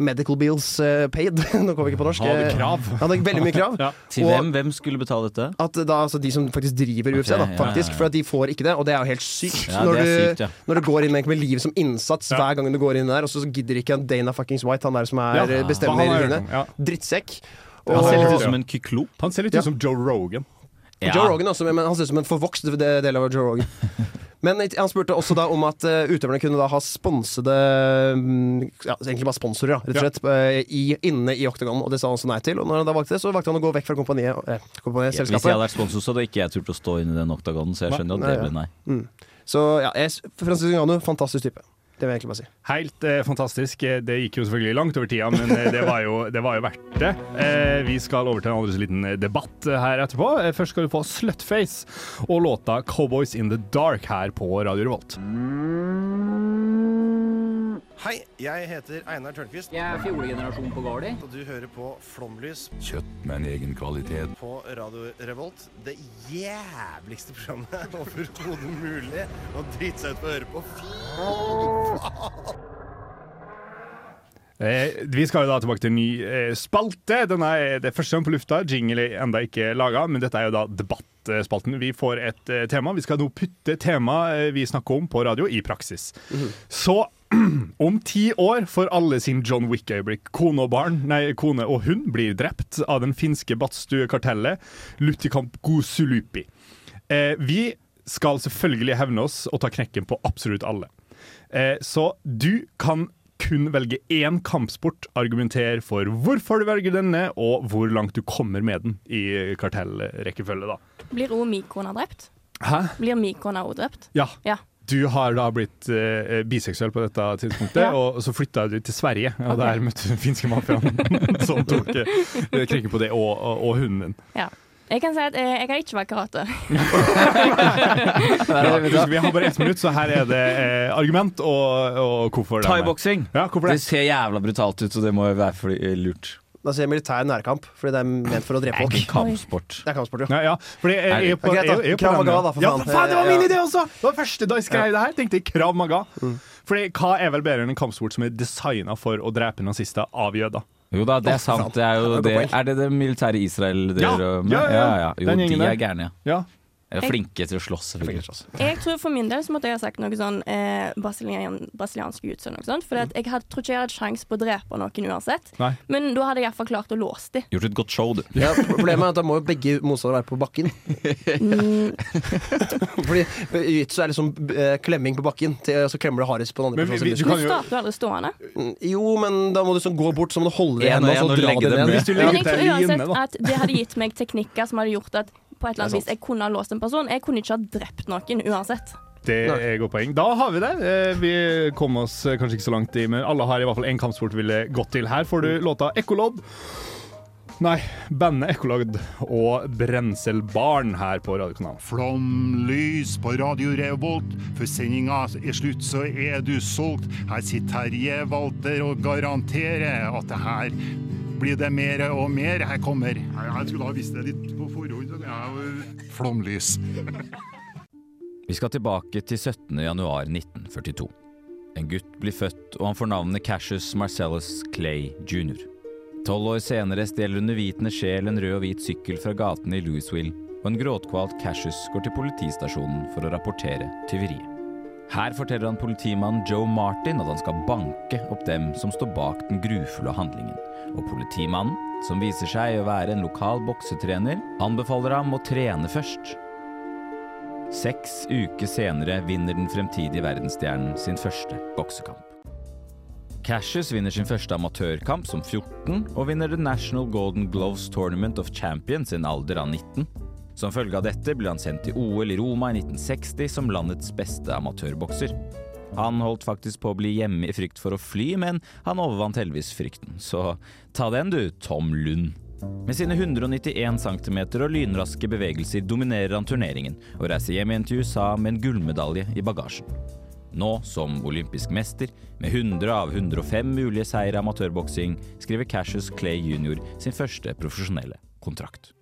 Speaker 4: medical bills eh, paid. <laughs> Nå kom vi ikke på norsk.
Speaker 3: Han hadde
Speaker 4: Eh,
Speaker 3: krav.
Speaker 4: Han hadde veldig mye
Speaker 3: <laughs>
Speaker 4: krav.
Speaker 3: Til
Speaker 4: Og-
Speaker 3: hvem? Hvem skulle betale dette?
Speaker 4: at da, altså de som faktisk driver UFC,
Speaker 3: Ok,
Speaker 4: da,
Speaker 3: ja,
Speaker 4: faktisk,
Speaker 3: ja, ja.
Speaker 4: for at de får ikke det. Og det er jo helt sykt.
Speaker 3: Ja,
Speaker 4: når,
Speaker 3: det
Speaker 4: du,
Speaker 3: er sykt, ja.
Speaker 4: når du går inn med, med livet som innsats hver gang du går inn der, og så gidder ikke han Dana fuckings White, han der som er, eh,
Speaker 1: Ja.
Speaker 4: bestemmer
Speaker 1: Han er jo-
Speaker 4: dine.
Speaker 1: ja.
Speaker 4: Drittsekk.
Speaker 3: Han ser litt sånn- ut som
Speaker 4: Og-
Speaker 3: en kyklop.
Speaker 1: Han ser litt
Speaker 4: Ja.
Speaker 1: ut som Joe Rogan.
Speaker 4: og Joe Rogan også, men han ser ut som en forvokst de- del av
Speaker 3: <laughs>
Speaker 4: Joe Rogan. Men it- han spurte også da om at eh, utøverne kunne da ha sponsede mm, ja, Egentlig bare sponsorer, da, rett og slett, eh, i, inne i oktagonen. Og det sa han også nei til. Og når han da valgte det, så valgte han å gå vekk fra kompaniet, eh, kompaniet
Speaker 3: Hvis jeg
Speaker 4: selskapet.
Speaker 3: hadde vært sponsor, så hadde ikke jeg turt å stå inne i den oktagonen, så jeg skjønner at
Speaker 4: Nei,
Speaker 3: det
Speaker 4: ja.
Speaker 3: ble nei.
Speaker 4: Mm. Så ja, jeg, Francis Ngannou, fantastisk type. Det vil jeg egentlig bare si.
Speaker 1: Helt eh, fantastisk. Eh, Det gikk jo selvfølgelig langt over tida, men eh, det var jo, <laughs> det var jo verdt det. Eh, vi skal over til en aldri så liten eh, debatt eh, her etterpå. Eh, først skal du få Slutface og låta 'Cowboys In The Dark' her på Radio Revolt.
Speaker 9: Hei, jeg heter Einar Tørnquist. Jeg er fjolegenerasjon på Gardi. Og du hører på Flomlys
Speaker 10: Kjøtt med en egen kvalitet.
Speaker 9: på Radio Revolt. Det jævligste programmet <laughs> overhodet mulig å drite seg ut på å høre på. Fy faen!
Speaker 1: Eh, vi skal jo da tilbake til en ny eh, spalte. Den er det er første gang på lufta. Jingle er enda ikke laga, men dette er jo da debattspalten. Vi får et eh, tema. Vi skal nå putte temaet eh, vi snakker om på radio, i praksis. Så <clears throat> om ti år får alle sin John Wick-øyeblikk. Kone og barn, nei, kone og hund blir drept av den finske badstuekartellet Lutikamp Gusulupi. Eh, vi skal selvfølgelig hevne oss og ta knekken på absolutt alle. Eh, så du kan kun velge én kampsport, argumenter for hvorfor du velger denne, og hvor langt du kommer med den i kartellrekkefølge, da.
Speaker 2: Blir òg min kone drept?
Speaker 1: Hæ?
Speaker 2: Blir min kone òg drept?
Speaker 1: Ja.
Speaker 2: Ja.
Speaker 1: Du har da blitt eh, biseksuell på dette tidspunktet,
Speaker 2: Ja.
Speaker 1: og så flytta du til Sverige. Og
Speaker 2: Ok.
Speaker 1: der møtte du den finske mafiaen <laughs> som tok eh, krenken på det, og, og, og hunden din.
Speaker 2: ja. Jeg kan si at eh, jeg, jeg kan ikke være karate.
Speaker 1: Ja, husk, vi har bare ett minutt, så her er det eh, argument og, og hvorfor. det er med.
Speaker 3: Thaiboksing!
Speaker 1: Ja, hvorfor det?
Speaker 3: det ser jævla brutalt ut, så det må jo være fordi, eh, lurt.
Speaker 4: Da sier jeg militær nærkamp, fordi det er ment for å drepe folk.
Speaker 3: Det er ikke kampsport.
Speaker 4: Det er kampsport, jo.
Speaker 1: Ja, ja. Fordi jeg, jeg, er på-
Speaker 4: Ja, greit, da.
Speaker 1: jeg er på
Speaker 4: Krav
Speaker 1: den,
Speaker 4: Maga,
Speaker 1: ja.
Speaker 4: da, for
Speaker 1: Ja,
Speaker 4: faen.
Speaker 1: for faen, det var min
Speaker 4: Ja. Mm.
Speaker 1: idé også! Det var første da jeg skrev det her, tenkte jeg Krav Maga. Fordi hva er vel bedre enn en kampsport som er designa for å drepe nazister av jøder?
Speaker 3: Jo da, det er sant. Det er, jo
Speaker 1: Det
Speaker 3: det,
Speaker 1: er et godt
Speaker 3: er det det militære Israel
Speaker 1: Ja,
Speaker 3: driver og-
Speaker 1: ja, ja, ja.
Speaker 3: Jo,
Speaker 1: Den
Speaker 3: de
Speaker 1: gjengen
Speaker 3: er
Speaker 1: der.
Speaker 3: gærne,
Speaker 1: ja.
Speaker 3: Er
Speaker 2: Jeg-
Speaker 3: Flinke til å slåss. selvfølgelig.
Speaker 2: Jeg tror For min del så måtte jeg ha sagt noe sånn eh, brasilian, brasiliansk guts eller noe sånt. For jeg hadde, tror ikke jeg hadde sjans på å drepe noen uansett.
Speaker 3: Nei.
Speaker 2: Men da hadde jeg iallfall klart å låse
Speaker 1: <laughs>
Speaker 2: dem.
Speaker 3: Gjort et godt show, du.
Speaker 4: Ja, problemet er at da må jo begge motstandere være på bakken. <laughs>
Speaker 2: Mm.
Speaker 4: Fordi jiu-jitsu er liksom eh, klemming på bakken, til, så klemmer du hardest på den andre
Speaker 1: Men vi-
Speaker 4: personens
Speaker 1: vi- du
Speaker 2: Men
Speaker 4: muskler.
Speaker 2: starter du aldri stående?
Speaker 4: Mm, Jo, men da må du sånn gå bort, så må du holde
Speaker 3: En
Speaker 4: igjen
Speaker 3: og
Speaker 4: og så
Speaker 3: en og
Speaker 4: dra
Speaker 3: legge
Speaker 4: det
Speaker 3: dem
Speaker 4: ned.
Speaker 3: ned. Hvis du
Speaker 2: Men jeg tror uansett at det hadde gitt meg teknikker som hadde gjort at på et eller annet
Speaker 1: Det er
Speaker 2: vis jeg kunne ha låst en person. Jeg kunne ikke ha drept noen uansett.
Speaker 1: Det er et godt poeng. Da har vi det. Eh, Vi kom oss eh, kanskje ikke så langt i, men alle har i hvert fall én kampsport vi ville gått til. Her får du låta 'Ekkolodd'. Nei, bandet Ekkolodd og Brenselbarn her på radiokanalen.
Speaker 11: Flomlys på Radio Revolt. Før sendinga er slutt, så er du solgt. Her sitter Terje Walter og garanterer at det her blir det mer og mer. Her kommer Jeg skulle ha visst det litt på forhånd. Flomlys.
Speaker 3: Vi skal tilbake til 17. januar 1942. En gutt blir født, og han får navnet Cassius Marcellus Clay jr. Tolv år senere stjeler en uvitende sjel en rød og hvit sykkel fra gatene i Louisville, og en gråtkvalt Cassius går til politistasjonen for å rapportere tyveriet. Her forteller han politimannen Joe Martin at han skal banke opp dem som står bak den grufulle handlingen. Og politimannen, som viser seg å være en lokal boksetrener, anbefaler ham å trene først. Seks uker senere vinner den fremtidige verdensstjernen sin første boksekamp. Cassius vinner sin første amatørkamp som 14, og vinner The National Golden Gloves Tournament of Champions i en alder av 19. Som følge av dette blir han sendt til OL i Roma i 1960 som landets beste amatørbokser. Han holdt faktisk på å bli hjemme i frykt for å fly, men han overvant heldigvis frykten. Så ta den du, Tom Lund. Med sine 191 cm og lynraske bevegelser dominerer han turneringen og reiser hjem igjen til USA med en gullmedalje i bagasjen. Nå som olympisk mester, med 100 av 105 mulige seire i amatørboksing, skriver Cassius Clay jr. sin første profesjonelle kontrakt.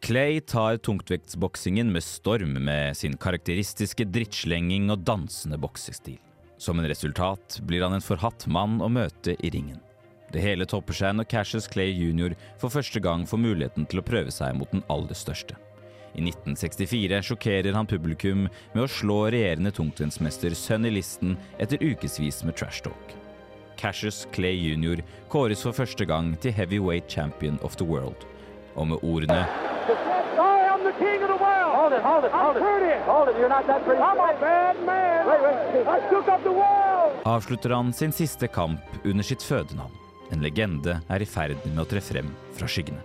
Speaker 3: Clay tar tungtvektsboksingen med storm med sin karakteristiske drittslenging og dansende boksestil. Som en resultat blir han en forhatt mann å møte i ringen. Det hele topper seg når Cassius Clay jr. for første gang får muligheten til å prøve seg mot den aller største. I 1964 sjokkerer han publikum med å slå regjerende tungtvinnsmester Sonny Listen etter ukevis med trash talk. Cassius Clay jr. kåres for første gang til heavyweight champion of the world, og med ordene
Speaker 12: I am the king of the world. Hold it, hold it, hold it. Hold it, you're not that pretty. I'm a bad man. Wait, wait. I shook up the world.
Speaker 3: avslutter han sin siste kamp under sitt fødenavn. En legende er i ferd med å tre frem fra skyggene.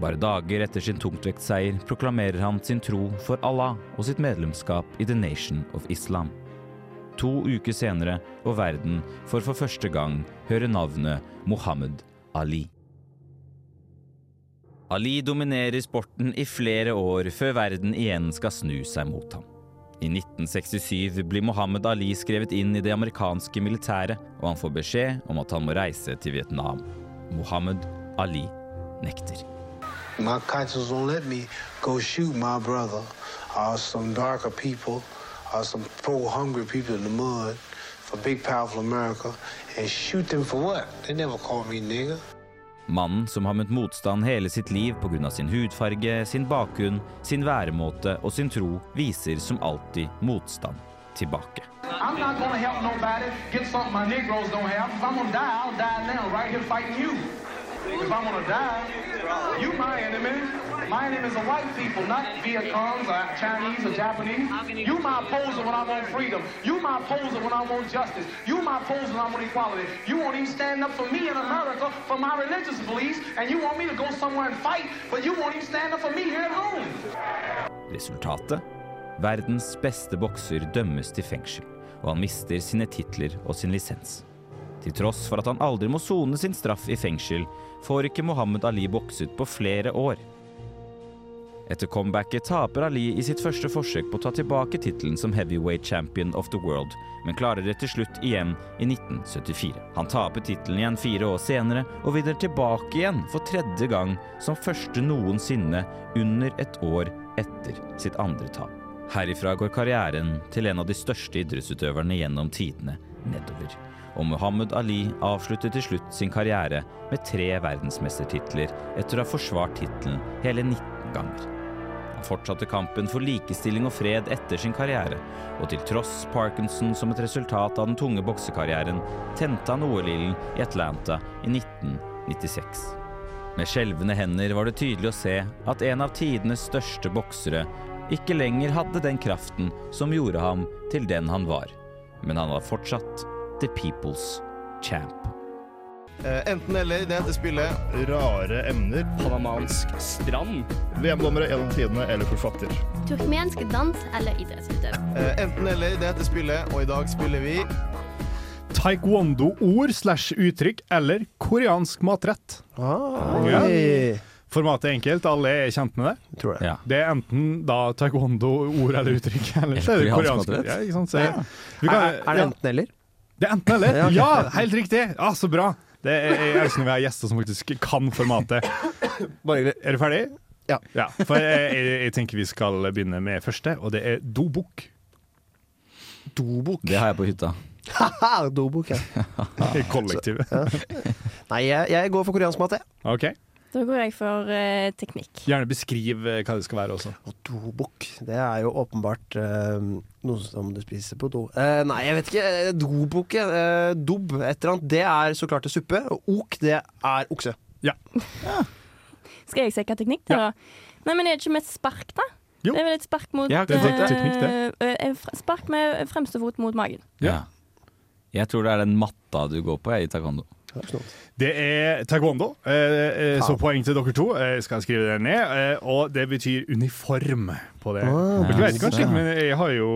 Speaker 3: Bare dager etter sin tungtvektseier proklamerer han sin tro for Allah og sitt medlemskap i The Nation of Islam. To uker senere, og verden får for første gang høre navnet Mohammed Ali. Ali dominerer sporten i flere år før verden igjen skal snu seg mot ham. I 1967 blir Mohammed Ali skrevet inn i det amerikanske militæret, og han får beskjed om at han må reise til Vietnam. Mohammed Ali nekter.
Speaker 13: My conscience won't let me go shoot my brother or some darker people or some poor hungry people in the mud for big powerful America and shoot them for what? They never called me nigger.
Speaker 3: Mannen som har møtt motstand hele sitt liv pga. sin hudfarge, sin bakgrunn, sin væremåte og sin tro, viser som alltid motstand tilbake.
Speaker 12: I'm not going to help nobody get something my Negroes don't have. If I'm going to die, I'll die now right here fighting you. If I'm going to die, you my enemy. My enemies are white people, not Viet Congs or Chinese or Japanese. You my opposer when I want freedom. You my opposer when I want justice. You my opposer when I want equality. You won't even stand up for me in America for my religious beliefs, and you want me to go somewhere and fight, but you won't even stand up for me here at home.
Speaker 3: Resultatet? Verdens beste bokser dømmes til fengsel, og han mister sine titler og sin lisens. Til tross for at han aldri må sone sin straff i fengsel, får ikke Mohammed Ali bokset på flere år. Etter comebacket taper Ali i sitt første forsøk på å ta tilbake tittelen som heavyweight champion of the world, men klarer det til slutt igjen i 1974. Han taper tittelen igjen fire år senere, og vinner tilbake igjen for tredje gang som første noensinne under et år etter sitt andre tap. Herifra går karrieren til en av de største idrettsutøverne gjennom tidene nedover. Og Muhammad Ali avslutter til slutt sin karriere med tre verdensmestertitler etter å ha forsvart tittelen hele 19 ganger. Han fortsatte kampen for likestilling og fred etter sin karriere, og til tross Parkinson som et resultat av den tunge boksekarrieren, tente han OL-ilden i Atlanta i 1996. Med skjelvende hender var det tydelig å se at en av tidenes største boksere ikke lenger hadde den kraften som gjorde ham til den han var, men han var fortsatt The People's Champ.
Speaker 14: Eh, enten eller i det heter spillet Rare emner. Panamansk strand. VM-dommere gjennom tidene eller forfatter.
Speaker 15: Turkmensk dans eller idrettsutøver.
Speaker 14: Eh, enten eller i det heter spillet, og i dag spiller vi
Speaker 1: Taekwondo-ord slash uttrykk eller koreansk matrett.
Speaker 14: Ah.
Speaker 1: Ja. Formatet er enkelt, alle er kjent med det.
Speaker 3: Ja.
Speaker 1: Det er enten da taekwondo-ord eller uttrykk, eller så er det
Speaker 3: Koreansk
Speaker 1: koreansk.
Speaker 3: matrett.
Speaker 1: Ja, ikke sant? Så,
Speaker 3: Ja.
Speaker 1: vi kan-
Speaker 3: Er- er det
Speaker 1: ja.
Speaker 3: enten
Speaker 4: <laughs>
Speaker 3: eller?
Speaker 1: Det er enten eller.
Speaker 3: Ja,
Speaker 1: Ja,
Speaker 3: ok.
Speaker 1: helt riktig! Ja, så bra! Det er, jeg elsker når vi har gjester som faktisk kan formatet. Er du ferdig?
Speaker 4: Ja.
Speaker 1: for jeg, jeg, jeg tenker vi skal begynne med første, og det er dobukk.
Speaker 4: Dobukk?
Speaker 3: Det har jeg på hytta.
Speaker 4: Haha, Dobok, ja.
Speaker 1: Kollektivet.
Speaker 4: Nei, jeg, jeg går for koreansk mat, jeg.
Speaker 1: Ok,
Speaker 2: Da går jeg for eh, teknikk.
Speaker 1: Gjerne beskriv eh, hva det skal være også.
Speaker 4: Dobok, det er jo åpenbart eh, noe som du spiser på do. Eh, nei, jeg vet ikke. eh, Dobok, eh, dob, et eller annet. Det er så klart det suppe. Og ok, det er okse.
Speaker 1: Ja.
Speaker 2: Skal jeg sjekke teknikk, da? Nei, men er det ikke med et spark, da? Det er vel et spark mot
Speaker 3: Ja, det er
Speaker 2: eh,
Speaker 3: teknikk, det.
Speaker 2: eh, en fr- Spark med fremste fot mot magen.
Speaker 3: Ja. Jeg tror det er den matta du går på jeg, i taekwondo.
Speaker 1: Det er taekwondo, eh, eh, så poeng til dere to. Eh, Jeg skal skrive det ned. Eh, og det betyr uniform på det.
Speaker 2: Ah,
Speaker 1: dere vet kanskje
Speaker 2: ja.
Speaker 1: ikke, men jeg har jo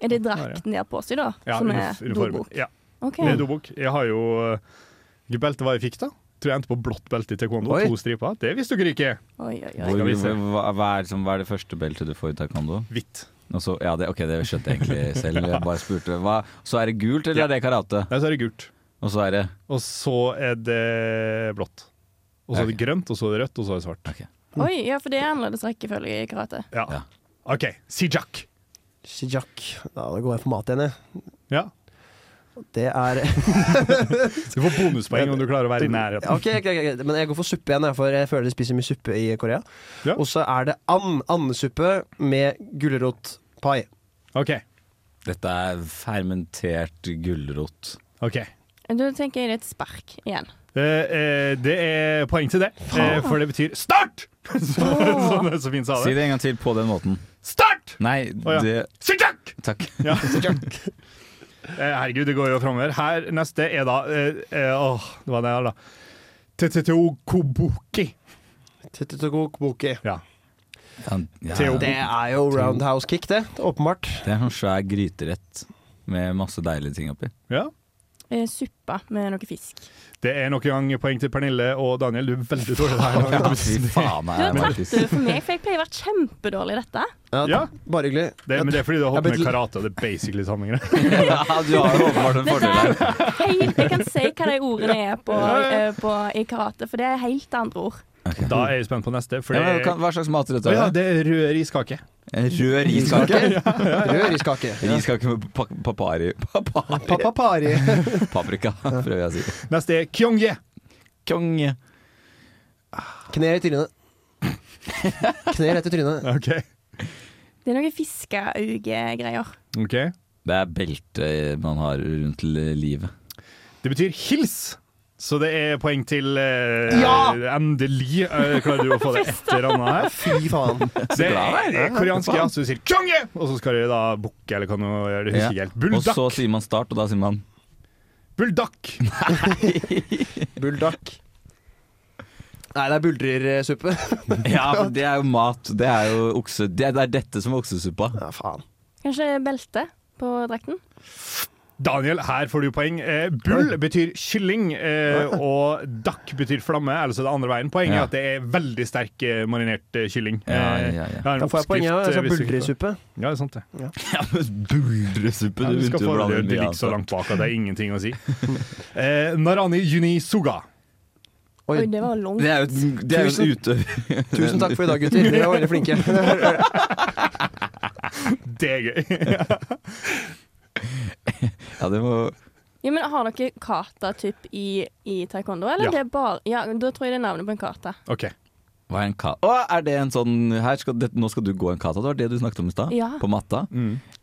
Speaker 2: Er det drakten de har på seg, da?
Speaker 1: ja,
Speaker 2: som
Speaker 1: uni-
Speaker 2: er
Speaker 1: uniformen.
Speaker 2: dobok?
Speaker 1: Ja.
Speaker 2: Ok.
Speaker 1: Det er dobok. Jeg har jo Hvilket eh, belte var jeg fikk, da? Tror jeg endte på blått belte i taekwondo.
Speaker 3: Oi.
Speaker 1: To striper. Det visste dere ikke.
Speaker 2: Oi, oi,
Speaker 1: Skal vi se.
Speaker 3: Hvor, hva, hva, er, liksom, hva er det første beltet du får i taekwondo?
Speaker 1: Hvitt.
Speaker 3: ja, det, ok, det skjønte
Speaker 2: <laughs>
Speaker 3: jeg egentlig selv. Jeg bare spurte. Hva, så er det gult, eller er det karate?
Speaker 1: Nei, så er det gult.
Speaker 3: Og så er det
Speaker 1: Og så er det blått. Og så er det grønt, og så er det rødt, og så er det svart.
Speaker 2: Oi, ja, for det er annerledes rekkefølge i karate.
Speaker 1: Ja. OK, sijak.
Speaker 4: Sijak. Da går jeg for mat igjen, jeg.
Speaker 1: Ja.
Speaker 4: Det er <laughs>
Speaker 1: Du får bonuspoeng om du klarer å være i nærheten.
Speaker 4: Ok, ok, ok, ok. Men jeg går for suppe igjen, jeg, for jeg føler de spiser mye suppe i Korea. Og så er det and. Andesuppe med gulrotpai.
Speaker 1: Ok.
Speaker 3: Dette er fermentert gulrot.
Speaker 1: Ok.
Speaker 2: Da tenker jeg det er et spark igjen.
Speaker 1: Eh, eh, det er poeng til det, eh, for det betyr start! <laughs> Så,
Speaker 2: Åh.
Speaker 1: sånn det så fint sa
Speaker 3: Si
Speaker 1: det.
Speaker 3: det en gang til på den måten.
Speaker 1: Start!
Speaker 3: Nei,
Speaker 1: Å, ja.
Speaker 3: det
Speaker 1: Sijak!
Speaker 3: Takk.
Speaker 1: Ja. Eh, Herregud, det går jo framover. Her neste er da eh, eh, Åh, det var det her, da. TTTO Kobuki.
Speaker 4: TTTO Kobuki.
Speaker 1: Ja.
Speaker 3: ja.
Speaker 4: Det er jo roundhouse kick, det. Åpenbart.
Speaker 3: Det er en svær gryterett med masse deilige ting oppi.
Speaker 1: Ja.
Speaker 2: Eh, suppa med noe fisk.
Speaker 1: Det er nok en gang poeng til Pernille og Daniel. Du er veldig dårlig der.
Speaker 3: Ja, <laughs> fy faen,
Speaker 2: Du har tatt det for meg, for jeg pleier å være kjempedårlig i dette.
Speaker 4: Ja,
Speaker 1: Ja.
Speaker 4: Bare hyggelig.
Speaker 1: Det, men det er fordi du har holdt med
Speaker 4: Jeg ble-
Speaker 1: karate, og det er basically sammenhengende.
Speaker 3: <laughs> Ja, du har jo åpenbart en fordel her.
Speaker 2: Helt, jeg kan si hva de ordene er på, eh, på, i karate, for det er helt andre ord.
Speaker 1: Da er jeg spent på neste. For
Speaker 3: Ja,
Speaker 1: det
Speaker 3: men kan- hva slags matrett
Speaker 1: Å
Speaker 3: er
Speaker 1: Ja,
Speaker 3: det?
Speaker 1: det er rød riskake.
Speaker 3: Rød riskake?
Speaker 4: Rød riskake.
Speaker 3: Riskake med pa papari Papari?
Speaker 4: Papapari.
Speaker 3: <laughs> Paprika, prøver jeg å si.
Speaker 1: <laughs> Neste er kyongye.
Speaker 3: Kyongye.
Speaker 4: Kne i trynet. Kne rett i trynet.
Speaker 1: Ok.
Speaker 2: Det er noe fiskeauge-greier.
Speaker 3: Det er belte man har rundt l- livet.
Speaker 1: Det betyr hils. Så det er poeng til eh,
Speaker 3: Ja!
Speaker 1: Endelig eh, klarer du å få det et eller annet her.
Speaker 4: Fy faen.
Speaker 1: Det
Speaker 3: glad jeg
Speaker 1: er
Speaker 3: er.
Speaker 1: koreansk ja, så du sier kyongye, og så skal du da bukke eller hva nå gjør. Det husker ikke
Speaker 3: Ja.
Speaker 1: helt.
Speaker 3: Og
Speaker 1: Buldak.
Speaker 3: så sier man start, og da sier man
Speaker 1: Buldak.
Speaker 4: Bulldakk. Nei, det er buldrersuppe.
Speaker 3: <laughs> Ja, for det er jo mat. Det er jo okse... Det er, det er dette som er oksesuppa.
Speaker 4: Ja, faen.
Speaker 2: Kanskje belte på drakten?
Speaker 1: Daniel, her får du poeng. Eh, bull betyr kylling, eh, og dakk betyr flamme. Altså det andre veien. Poenget
Speaker 3: Ja.
Speaker 1: er at det er veldig sterk eh, marinert eh, kylling.
Speaker 3: Ja, ja, ja.
Speaker 1: Eh, det er en
Speaker 4: Da får jeg poeng,
Speaker 1: oppskrift,
Speaker 4: ja.
Speaker 3: altså
Speaker 4: Altså, Jeg
Speaker 1: eh,
Speaker 4: sa
Speaker 1: hvis du- <laughs>
Speaker 4: buldresuppe.
Speaker 1: Ja, det er sant det.
Speaker 3: Ja, men buldresuppe
Speaker 1: Ja,
Speaker 3: Du
Speaker 1: du skal
Speaker 3: begynte jo å
Speaker 1: få
Speaker 3: blande
Speaker 1: det.
Speaker 3: inn
Speaker 1: Det
Speaker 3: mye
Speaker 1: ligger så
Speaker 3: annet.
Speaker 1: langt bak at det er ingenting å si. Eh, Narani Junisuga.
Speaker 2: Oi, det var langt.
Speaker 3: Det er jo et- det er jo en
Speaker 4: Tusen-
Speaker 3: utøver.
Speaker 4: Tusen takk for i dag, gutter. Dere var veldig
Speaker 1: <laughs>
Speaker 4: flinke.
Speaker 1: Det er
Speaker 3: <laughs>
Speaker 1: gøy.
Speaker 3: <laughs> Ja, det må
Speaker 2: Ja, men Har dere kata typ i, i taekwondo, eller?
Speaker 3: Ja.
Speaker 2: Det er bare, ja, da tror jeg det er navnet på en kata.
Speaker 1: OK.
Speaker 3: Hva er en ka... Å, er det en sånn her skal, det, Nå skal du gå en kata, det var det du snakket om i stad?
Speaker 2: Ja.
Speaker 3: På matta?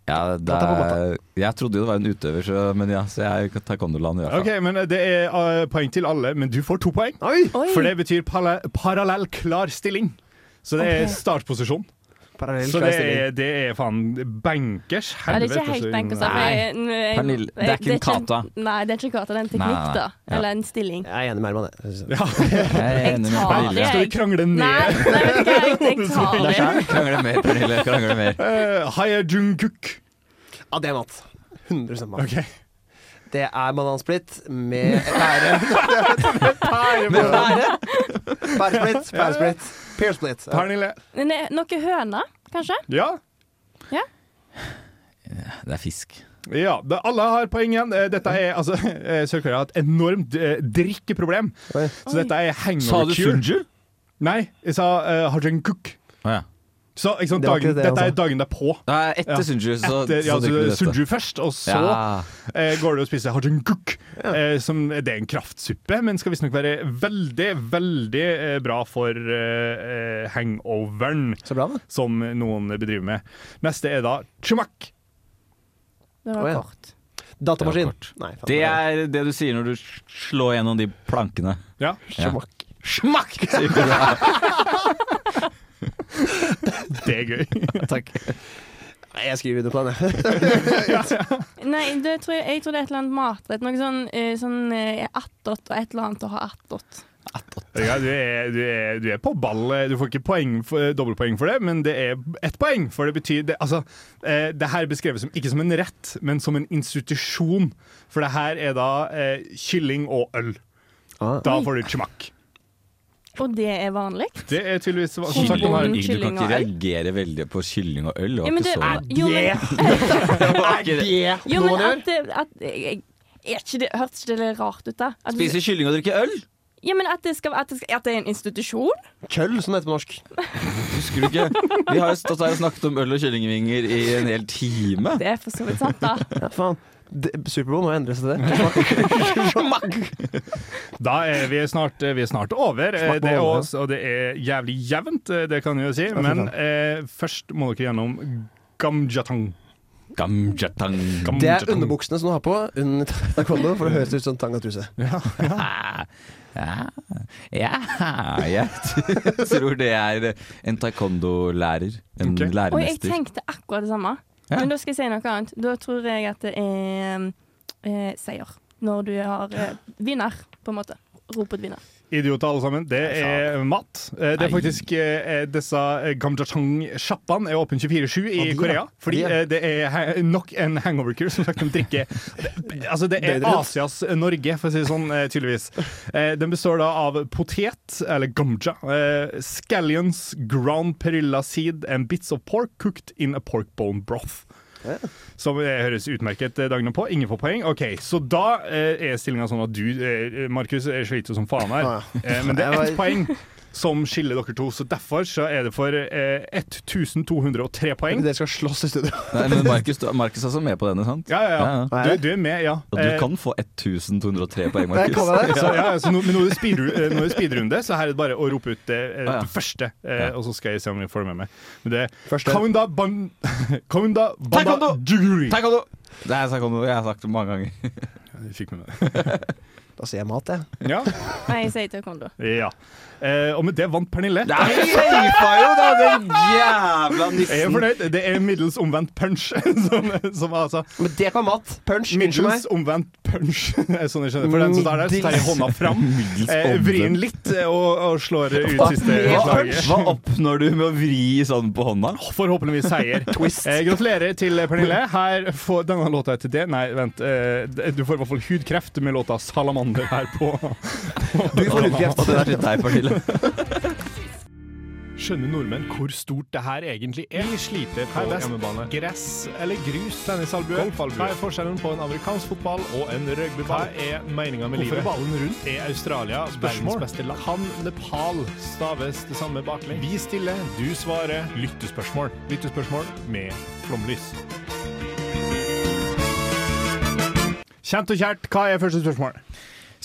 Speaker 3: Ja, det,
Speaker 1: Kata på
Speaker 3: er- Jeg trodde jo det var en utøver, så, men ja, så jeg er i taekwondoland i hvert fall.
Speaker 1: Ok, men Det er eh, poeng til alle, men du får to poeng.
Speaker 2: Oi.
Speaker 1: For det betyr pala- parallell klar stilling. Så det er
Speaker 2: Ok.
Speaker 1: startposisjon.
Speaker 4: Parallell
Speaker 1: Så det
Speaker 4: klassering.
Speaker 1: er, det er faen bankers.
Speaker 2: Ja, det er ikke
Speaker 1: helvete,
Speaker 2: helt
Speaker 1: så-
Speaker 2: bankers. da,
Speaker 1: altså,
Speaker 2: for
Speaker 1: Nei.
Speaker 2: jeg- jeg-
Speaker 1: Pernille, det er ikke en kata.
Speaker 2: Nei, det er ikke en kata, det er en teknikk,
Speaker 1: Nei, nei,
Speaker 2: da.
Speaker 1: nei.
Speaker 2: Eller en stilling.
Speaker 4: Jeg er enig med Herman, jeg.
Speaker 3: Jeg er enig med
Speaker 1: <laughs>
Speaker 3: Pernille.
Speaker 1: Skal vi krangle ned?
Speaker 2: Nei, nei, vet du hva, jeg, jeg tar
Speaker 3: Nei,
Speaker 2: det.
Speaker 3: Krangle mer, Pernille. Krangle mer.
Speaker 1: Eh, Haya Jungkook.
Speaker 4: Ja, det er mat. 100 mat.
Speaker 1: Ok.
Speaker 4: Det er banansplitt med
Speaker 1: <laughs>
Speaker 4: pære. <laughs> pære med pære. Pæresplitt, pæresplitt. Pearsplitt.
Speaker 1: Pernille.
Speaker 2: Men det er Noe høne, kanskje?
Speaker 1: Ja.
Speaker 2: Ja.
Speaker 3: Det er fisk.
Speaker 1: Ja, da, alle har poeng igjen. Eh, Dette er altså eh, Sør-Korea har et enormt eh, drikkeproblem. Så dette er
Speaker 3: Sa
Speaker 1: hangover
Speaker 3: du
Speaker 1: cure.
Speaker 3: Sunju?
Speaker 1: Nei, jeg sa uh, Hajun Cook.
Speaker 3: Å ja.
Speaker 1: Så ikke sant,
Speaker 3: Det var ikke
Speaker 1: dagen,
Speaker 3: det han
Speaker 1: dette er
Speaker 3: sa.
Speaker 1: dagen derpå.
Speaker 3: Nei, etter Sunju, så,
Speaker 1: Etter, ja,
Speaker 3: så
Speaker 1: så
Speaker 3: drikker vi dette.
Speaker 1: Sunju først, og så
Speaker 3: Ja.
Speaker 1: eh, går du og spiser Hajun Cook. eh, som, det er en kraftsuppe, men skal visstnok være veldig, veldig eh, bra for eh, eh, hangoveren. Som noen bedriver med. Neste er da chumak.
Speaker 2: Det
Speaker 4: Å,
Speaker 2: var
Speaker 4: ja.
Speaker 2: kort.
Speaker 4: Datamaskin. Nei, faen.
Speaker 3: Det er det du sier når du slår gjennom de plankene.
Speaker 1: Ja.
Speaker 4: Smakk.
Speaker 3: Smakk! sier du da.
Speaker 1: <laughs> Det er gøy. <laughs>
Speaker 3: Takk.
Speaker 4: Nei, jeg skriver under på den, jeg.
Speaker 2: Nei, det tror jeg, jeg tror det er et eller annet matrett. Noe sånn, eh, sånn eh, attåt og et eller annet å ha attåt.
Speaker 1: Ja, du, er, du, er, du er på ball. eh, Du får ikke poeng for, eh, dobbeltpoeng for det, men det er ett poeng. For det betyr det, altså, eh, det her beskreves som, ikke som en rett, men som en institusjon. For det her er da eh, kylling og øl. Da får du smakk.
Speaker 2: Og det er vanlig?
Speaker 1: Det er tydeligvis hva som
Speaker 2: Kylling.
Speaker 1: sagt om her.
Speaker 3: Du kan
Speaker 2: Kylling
Speaker 3: ikke
Speaker 2: og øl?
Speaker 3: reagere veldig på kylling og øl. Det var
Speaker 2: Ja, men
Speaker 3: ikke
Speaker 2: du- eh,
Speaker 3: så
Speaker 2: jo, men-
Speaker 3: <laughs> Er
Speaker 4: det
Speaker 2: Jo, men at, det- at jeg, er ikke det, Hørtes ikke det rart ut, da? At, du-
Speaker 3: Spise kylling og drikke øl?
Speaker 2: ja, men at det, skal, at, det skal, at det er en institusjon?
Speaker 4: Køll, som det heter på norsk.
Speaker 3: Husker du ikke? Vi har jo stått her og snakket om øl og kyllingvinger i en hel time.
Speaker 2: Det <laughs> er for så vidt sant, da.
Speaker 4: Ja, faen. Det- Superbowl, nå endres det. Smakk!
Speaker 1: Da er vi snart, vi er snart over. Eh,
Speaker 4: Smak på
Speaker 1: Det er
Speaker 4: vannet.
Speaker 1: oss, og det er jævlig jevnt, eh, det kan jeg jo si.
Speaker 3: fy
Speaker 1: Men
Speaker 3: faen.
Speaker 1: eh, først må dere gjennom gamjatang.
Speaker 3: Gamjatang.
Speaker 4: Det er underbuksene som du har på under taekwondo, for det høres ut som tangatuse.
Speaker 3: Ja, ja, jeg t- tror det er en taekwondo-lærer. En
Speaker 2: Og jeg
Speaker 3: læremester.
Speaker 2: tenkte akkurat det samme.
Speaker 3: Ja.
Speaker 2: Men da skal jeg si noe annet. Da tror jeg at det er eh, seier. Når du har eh, vinner, på en måte. Ropet vinner.
Speaker 1: Idioter, alle sammen. Det er mat. Eh, Det er faktisk eh, disse gamjatang-sjappene er åpne 24-7 i
Speaker 6: Ja, de, ja.
Speaker 1: Korea. Fordi
Speaker 6: De, ja.
Speaker 1: eh, det er he- nok en hangover-kur. Som sagt, de drikker det- Altså, det er
Speaker 6: Bedre.
Speaker 1: Asias Norge, for å si det sånn, eh, tydeligvis. Eh, Den består da av potet, eller gamja, eh, scallions, ground perilla seed and bits of pork cooked in a pork bone broth. Som eh, høres utmerket eh, dagene på. Ingen får poeng. OK, så da eh, er stillinga sånn at du, eh, Markus, eh, sliter jo som faen her.
Speaker 6: Ah, ja.
Speaker 1: <laughs> Eh, men det
Speaker 6: <laughs>
Speaker 1: er
Speaker 6: Jeg
Speaker 1: ett
Speaker 6: var-
Speaker 1: poeng som skiller dere to, så derfor så er det for eh, 1203 poeng.
Speaker 4: Dere skal slåss i studio.
Speaker 3: Nei, men Markus, du- Markus er også med på denne, sant?
Speaker 1: Ja, ja, ja. Du, du er med, ja. <laughs>
Speaker 3: Og du kan få 1203 poeng,
Speaker 1: Eh,
Speaker 3: Markus.
Speaker 1: Så, ja, ja, så nå, men nå er det speedru- eh, nå er det speedrunde, så her er det bare å rope ut eh,
Speaker 3: Ah, ja.
Speaker 1: det første. eh,
Speaker 3: Ja.
Speaker 1: Og så skal jeg se om vi får det med meg. Men det Kaunda ban... <laughs> Kaunda banda
Speaker 3: Taekwondo!
Speaker 1: juguri.
Speaker 3: Taekwondo! Det er taekwondo. Jeg har sagt det mange <laughs> ganger.
Speaker 1: Du fikk med meg det. <laughs>
Speaker 4: Da sier jeg mat, jeg.
Speaker 1: Ja.
Speaker 2: Nei, jeg sier taekwondo.
Speaker 1: ja. Eh, og med det vant Pernille.
Speaker 3: Nei, safa jo da, den jævla nissen.
Speaker 1: Jeg er fornøyd. Det er middels omvendt punch. <laughs> Som, som altså
Speaker 4: Men det kan mat. Punch. Unnskyld meg.
Speaker 1: Middels omvendt punch. <laughs> er Sånn jeg skjønner For den som tar der, så tar jeg hånda fram,
Speaker 3: <laughs> Middels
Speaker 1: eh, vrir den
Speaker 3: omvendt.
Speaker 1: litt eh, og, og slår ut siste
Speaker 3: Hva,
Speaker 1: slaget.
Speaker 3: hva oppnår du med å vri sånn på hånda?
Speaker 1: Forhåpentligvis
Speaker 3: <laughs>
Speaker 1: seier. Eh, gratulerer til Pernille. Her får denne låta etter det. Nei, vent. Eh, d- du får i hvert fall hudkreft med låta 'Salamander' her på. <laughs>
Speaker 3: Du får hudkreft. Og det er til deg, <laughs> Pernille.
Speaker 1: Skjønner nordmenn hvor stort det her egentlig er? Vi sliter
Speaker 6: på hjemmebane.
Speaker 1: Gress eller grus? Tennisalbue? Hva er forskjellen på en amerikansk fotball og en rugbyball? Hva er meninga
Speaker 6: med livet?
Speaker 1: Hvorfor er ballen rundt? Er Australia
Speaker 6: Spørsmål.
Speaker 1: verdens beste land? Kan Nepal staves det samme baklengs? Vi stiller, du svarer. Lyttespørsmål. Lyttespørsmål med flomlys. Kjent og kjært, hva er første spørsmål?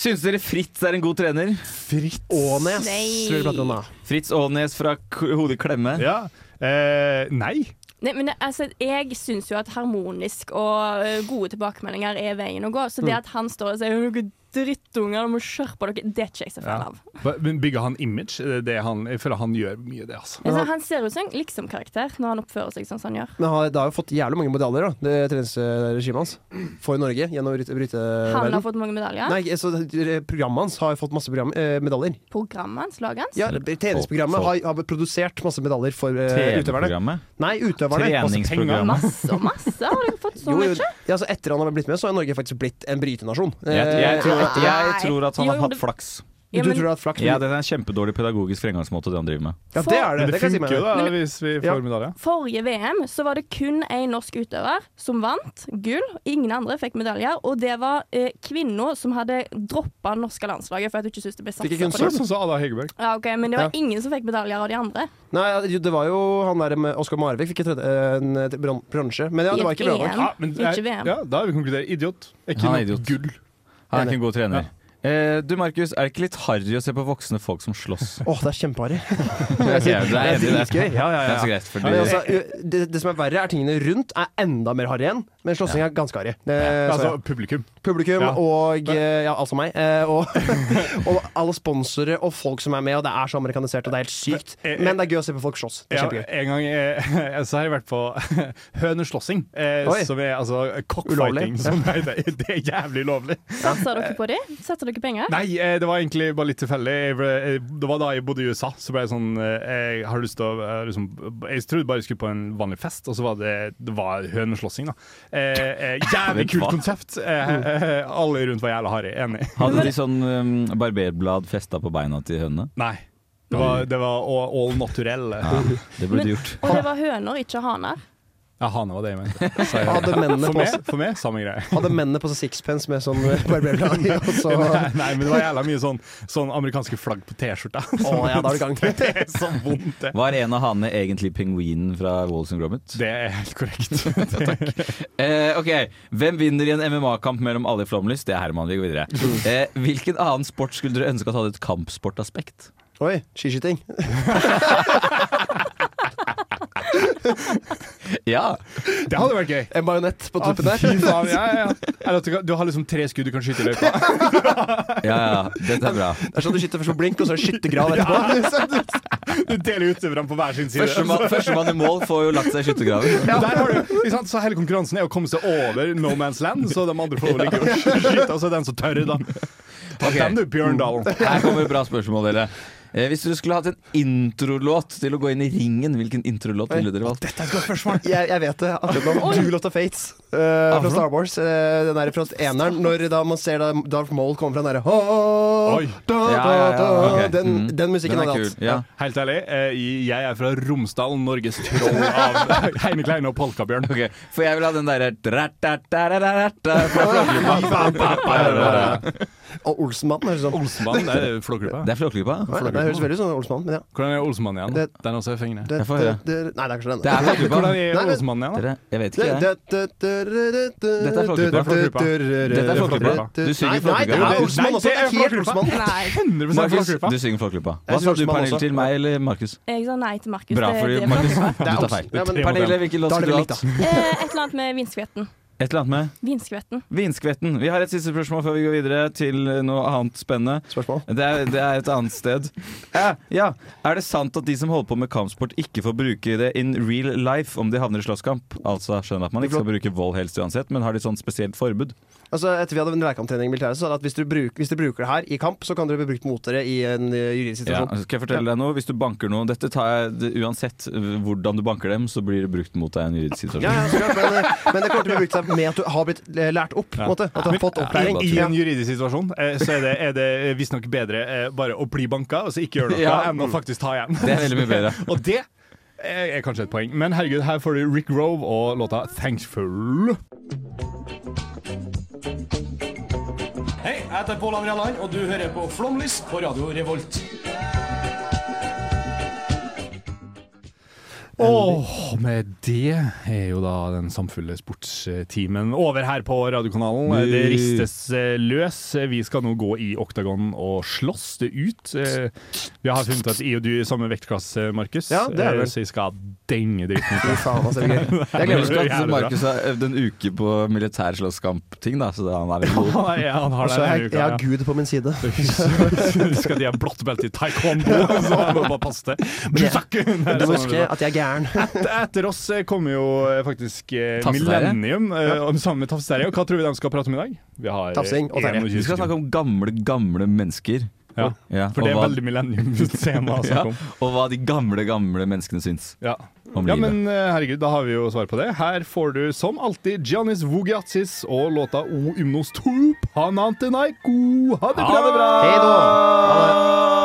Speaker 3: Syns dere Fritz er en god trener?
Speaker 1: Fritz
Speaker 4: Ånes.
Speaker 2: Nei.
Speaker 4: tror jeg prater om da.
Speaker 3: Fritz Aanes fra K Hodet klemme.
Speaker 1: Ja. Eh, nei.
Speaker 2: Nei, men det- altså, jeg syns jo at harmonisk og eh, gode tilbakemeldinger er veien å gå. Så det
Speaker 1: Mm.
Speaker 2: at han står og sier «Å, dere drittunger, dere må skjerpe dere, det er ikke jeg så fan av.
Speaker 1: Men bygger han image? Er det Det han, jeg føler han gjør mye, det, altså.
Speaker 2: Altså, han ser ut som en liksom-karakter når han oppfører seg sånn som han gjør.
Speaker 4: Men han- det har jo fått jævlig mange medaljer, da, det treningsregimet hans. For Norge, gjennom bryte-
Speaker 2: Han har
Speaker 4: bryteverdenen.
Speaker 2: fått mange medaljer.
Speaker 4: Eh, Nei, så programmet hans har fått masse program, eh, medaljer.
Speaker 2: Programmet hans, laget hans.
Speaker 4: Ja, treningsprogrammet har, har produsert masse medaljer for eh, utøverne.
Speaker 3: TV-programmet?
Speaker 4: Nei, utøverne.
Speaker 3: Treningsprogrammet.
Speaker 2: Masse og masse. Har dere fått så
Speaker 4: Jo, jo,
Speaker 2: mye?
Speaker 4: ja, så etter han har blitt med, så har Norge faktisk blitt en brytenasjon.
Speaker 3: Jeg, jeg,
Speaker 4: Eh,
Speaker 3: tror,
Speaker 4: etter-
Speaker 3: jeg tror at han
Speaker 4: Jo,
Speaker 3: har
Speaker 4: jo,
Speaker 3: hatt
Speaker 4: det-
Speaker 3: flaks.
Speaker 4: Du Ja, men- tror du har hatt flaks?
Speaker 3: Ja, det er en kjempedårlig pedagogisk fremgangsmåte det han driver med.
Speaker 4: Ja, det er
Speaker 1: Men
Speaker 4: det. Det
Speaker 1: det
Speaker 4: kan jeg si
Speaker 1: funker jo
Speaker 4: meg.
Speaker 1: da,
Speaker 4: Men-
Speaker 1: hvis vi får
Speaker 4: Ja.
Speaker 1: medalje.
Speaker 2: Forrige VM så var det kun én norsk utøver som vant gull. Ingen andre fikk medaljer. Og det var eh, kvinna som hadde droppa det norske landslaget for at hun ikke syntes det ble satsa
Speaker 4: Fikk ikke hun
Speaker 2: på det.
Speaker 1: Sånn som Ada Hegerberg.
Speaker 2: Ja, ok, Men det var
Speaker 4: Ja.
Speaker 2: ingen som fikk medaljer av de andre.
Speaker 4: Nei, ja, det- det var jo han der med Oskar Marvik fikk et tredje, eh, en eh, bron- bronse. Men ja, det var ikke bra nok.
Speaker 1: Ja, Ah, men,
Speaker 2: E Ikke VM.
Speaker 1: Ja, da har vi konkludert. Idiot. Er ikke
Speaker 3: Han er
Speaker 1: noe
Speaker 3: idiot.
Speaker 1: gull.
Speaker 3: Han er ikke en god trener. Eh, du Markus, er det ikke litt harry å se på voksne folk som slåss?
Speaker 4: <laughs> Åh, det er kjempeharry.
Speaker 3: Jeg sier- du er enig i det.
Speaker 4: dritgøy. Ja, ja, ja.
Speaker 3: Det er så greit, fordi-
Speaker 4: Men altså, u- det, det som er verre, er tingene rundt er enda mer harry igjen. Men slåssing er ganske harry. Det,
Speaker 1: Altså
Speaker 4: så, ja.
Speaker 1: publikum.
Speaker 4: Publikum
Speaker 1: Ja.
Speaker 4: og eh, ja, altså meg. eh, Og, <laughs> og alle sponsorer og folk som er med, og det er så amerikanisert, og det er helt sykt. Men eh, det er gøy å se på folk slåss. Det er
Speaker 1: Ja,
Speaker 4: kjempegøy.
Speaker 1: en gang eh, <laughs> så har jeg vært på høneslåssing, eh,
Speaker 4: Oi.
Speaker 1: som er altså
Speaker 4: Ulovlig.
Speaker 1: <laughs> cockfighting. Som det, heter. det er jævlig lovlig.
Speaker 2: Satsa dere på det? Satsa dere penger?
Speaker 1: Nei, eh, det var egentlig bare litt tilfeldig. Jeg ble- eh, Det var da jeg bodde i USA, så ble jeg sånn eh, Jeg har lyst til å jeg har liksom, Jeg trodde bare jeg skulle på en vanlig fest, og så var det, det var høneslåssing, da. Eh, eh, jævlig
Speaker 3: Vet du
Speaker 1: kult
Speaker 3: hva?
Speaker 1: konsept. Eh, eh, alle rundt var jævla harry. Enig.
Speaker 3: Hadde de sånn um, barberblad festa på beina til hønene?
Speaker 1: Nei. Det var, det var all, all naturell.
Speaker 3: Ja, det burde de gjort.
Speaker 2: Og det var høner, ikke haner.
Speaker 1: Ja, hane var det jeg mente. Så jeg-
Speaker 4: Hadde mennene
Speaker 1: for,
Speaker 4: på
Speaker 1: meg,
Speaker 4: seg-
Speaker 1: for meg, samme greie.
Speaker 4: Hadde mennene på seg sixpence med sånn eh,
Speaker 1: <laughs>
Speaker 4: barberblad i, og så
Speaker 1: Nei, nei, men det var jævla mye sånn, sånn amerikanske flagg på T-skjorta.
Speaker 4: Å, ja, da er du i gang.
Speaker 1: Det er <laughs> så vondt, det.
Speaker 3: Var en av hanene egentlig pingvinen fra Walls and Gromit?
Speaker 1: Det er helt korrekt. <laughs>
Speaker 3: Eh, ok, Hvem vinner i en MMA-kamp mellom alle i Flåmlys? Det er Herman. Vi går videre. Eh, hvilken annen sport skulle dere ønske at hadde et kampsportaspekt?
Speaker 4: Oi, skiskyting.
Speaker 3: Ja.
Speaker 1: Det hadde vært gøy.
Speaker 4: En bajonett på tuppen
Speaker 1: Ah, fy faen, ja,
Speaker 4: der.
Speaker 1: ja, ja. Eller at du, kan- du har liksom tre skudd du kan skyte i løypa.
Speaker 3: Ja, ja, dette er bra.
Speaker 4: Det er sånn du skyter først på blink, og så er det skyttergrav etterpå.
Speaker 1: Du deler utøverne på hver sin side. <laughs>
Speaker 3: Førstemann førstemann i mål får jo lagt seg i skyttergraven.
Speaker 1: Ja, der har du, ikke sant? Så hele konkurransen er å komme seg over no man's land, så de andre får ligge og skyte, og så er den som tørre, da. Ta
Speaker 3: Ok. Mm.
Speaker 1: den du, Bjørndalen.
Speaker 3: Her kommer et bra spørsmål, dere. Eh, hvis dere skulle hatt en introlåt til å gå inn i ringen, hvilken introlåt ville dere valgt?
Speaker 1: Dette er et godt spørsmål.
Speaker 4: Jeg, jeg vet det. Akkurat nå. Duel of the Fates eh, fra Star Wars. eh, den der fra eneren, når da man ser da Darth Maul komme fra den derre
Speaker 1: Oi. Ja,
Speaker 4: da, da,
Speaker 1: ja, ja,
Speaker 4: da.
Speaker 1: ok.
Speaker 4: Den,
Speaker 1: Mm.
Speaker 4: den musikken
Speaker 1: Den er
Speaker 4: hadde jeg hatt.
Speaker 1: kul, ja. Helt ærlig, eh, jeg er fra Romsdal, Norges troll av <laughs> Heine Kleine og Polkabjørn.
Speaker 3: Ok, For jeg vil ha den derre dra-da-da-da-da-da fra Flåklypa.
Speaker 4: Og Olsenmannen, høres det ut som.
Speaker 1: Olsenmannen, det er Flåklypa.
Speaker 3: Det er Flåklypa?
Speaker 4: Nei, Det høres veldig ut som Olsenmannen, men ja.
Speaker 1: Hvordan er Olsenmannen igjen? Den også er fengende.
Speaker 4: Det-
Speaker 3: Jeg får høre.
Speaker 4: det- det- Nei, det er kanskje den.
Speaker 3: Det er Flåklypa.
Speaker 1: Hvordan er
Speaker 4: Nei, det-
Speaker 1: Olsenmannen igjen, da?
Speaker 3: Dere, jeg vet
Speaker 4: Det-
Speaker 3: ikke, jeg.
Speaker 4: det- det- det- det-
Speaker 3: Dette
Speaker 4: det- det-
Speaker 3: er Flåklypa. Dette er Flåklypa. Du synger
Speaker 4: Nei, Nei, det
Speaker 3: Flåklypa.
Speaker 4: er Olsenmannen også. Det er helt Olsenmannen.
Speaker 3: Markus,
Speaker 1: Flåklypa.
Speaker 3: du synger Flåklypa.
Speaker 4: sånn Jeg
Speaker 3: Hva sa
Speaker 4: synger
Speaker 3: du,
Speaker 4: Flåklypa
Speaker 3: Pernille,
Speaker 4: også.
Speaker 3: til meg eller Markus?
Speaker 2: Jeg sa nei til Markus.
Speaker 3: Bra,
Speaker 2: det-
Speaker 3: fordi
Speaker 2: det er
Speaker 3: Markus,
Speaker 2: Flåklypa.
Speaker 3: du tar feil.
Speaker 4: Ja, men-
Speaker 3: Pernille, hvilken låt
Speaker 4: Da er det
Speaker 3: skulle du
Speaker 4: likt,
Speaker 3: hatt?
Speaker 2: Eh, et eller annet med vinskvetten.
Speaker 3: Et eller annet med
Speaker 2: Vinskvetten.
Speaker 3: Vinskvetten. Vi har et siste spørsmål før vi går videre til noe annet spennende.
Speaker 4: Spørsmål?
Speaker 3: Det er, det er et annet sted. Eh, ja. Er det sant at de som holder på med kampsport, ikke får bruke det in real life om de havner i slåsskamp? Altså, skjønner at man ikke skal bruke vold helst uansett, men har de sånn spesielt forbud?
Speaker 4: Altså, etter vi hadde en lærkamptrening i militæret, så sa de at hvis dere bruker, hvis dere bruker det her i kamp, så kan dere bli brukt mot dere i en eh, juridisk
Speaker 3: Ja, altså.
Speaker 4: situasjon.
Speaker 3: skal jeg fortelle deg noe? Hvis du banker noen Dette tar jeg det- uansett øh, hvordan du banker dem, så blir det brukt mot deg i en juridisk situasjon.
Speaker 4: Ja, ja, så klart, men, eh, men det kommer til å bli brukt seg med at du har blitt eh, lært opp. på en måte, at du har fått opplæring.
Speaker 1: I en juridisk situasjon eh, så er det, er det visstnok bedre eh, bare å bli banka og så ikke gjøre noe,
Speaker 3: Ja.
Speaker 1: enn å faktisk ta igjen.
Speaker 3: Det er veldig mye
Speaker 1: <laughs>
Speaker 3: bedre.
Speaker 1: og det er er kanskje et poeng. Men herregud, her får du Rick Rove og låta 'Thankful'.
Speaker 16: Hei, jeg heter Pål André Land, og du hører på Flomlys på Radio Revolt.
Speaker 1: Og med det er jo da den samfulle sportstimen over her på radiokanalen.
Speaker 3: Nei.
Speaker 1: Det ristes eh, løs. Vi skal nå gå i oktagon og slåss det ut. Eh, Vi har funnet at I og du er i samme vektklasse, Markus,
Speaker 4: Ja, det er
Speaker 1: Eh,
Speaker 4: vel.
Speaker 1: så vi skal denge dritten ut.
Speaker 4: <laughs> Fy faen, altså, det er gøy.
Speaker 1: Det er
Speaker 3: Men husk
Speaker 1: gøy.
Speaker 3: at
Speaker 1: Jævlig bra.
Speaker 3: Markus har øvd en uke på militær slåsskamp-ting, da, så han <laughs> er veldig god.
Speaker 1: Ja, ja, han har
Speaker 4: Altså,
Speaker 1: det denne
Speaker 4: jeg, jeg har
Speaker 1: uka. ja.
Speaker 4: Gud på min side.
Speaker 1: <laughs> Skal de ha blått belte i taekwondo, så må man bare passe <laughs> det. Jusaku! Nei,
Speaker 4: Du
Speaker 1: sånn er
Speaker 4: må huske
Speaker 1: det.
Speaker 4: at jeg er gæren.
Speaker 1: Et- Etter oss eh, kommer jo eh, faktisk eh,
Speaker 3: Tafseterre.
Speaker 1: Millennium eh, om- sammen med Tafseterre. Og hva tror vi de skal prate om i dag? Vi har eh,
Speaker 4: Tafsing og terre.
Speaker 1: 21
Speaker 3: Vi skal snakke
Speaker 1: sekunder.
Speaker 3: om gamle, gamle mennesker.
Speaker 1: Ja.
Speaker 3: Ja,
Speaker 1: For det er
Speaker 3: og hva-
Speaker 1: veldig <laughs> millennium-tema å
Speaker 3: ja,
Speaker 1: snakke om.
Speaker 3: og hva de gamle, gamle menneskene syns
Speaker 1: Ja.
Speaker 3: om
Speaker 1: ja,
Speaker 3: livet.
Speaker 1: men eh, herregud, da har vi jo svar på det. Her får du som alltid Giannis Vugiatsis og låta O Ymnos Tup Hanantenaiko. Ha det bra!
Speaker 3: Ha det bra!
Speaker 4: Hei da! Ha det.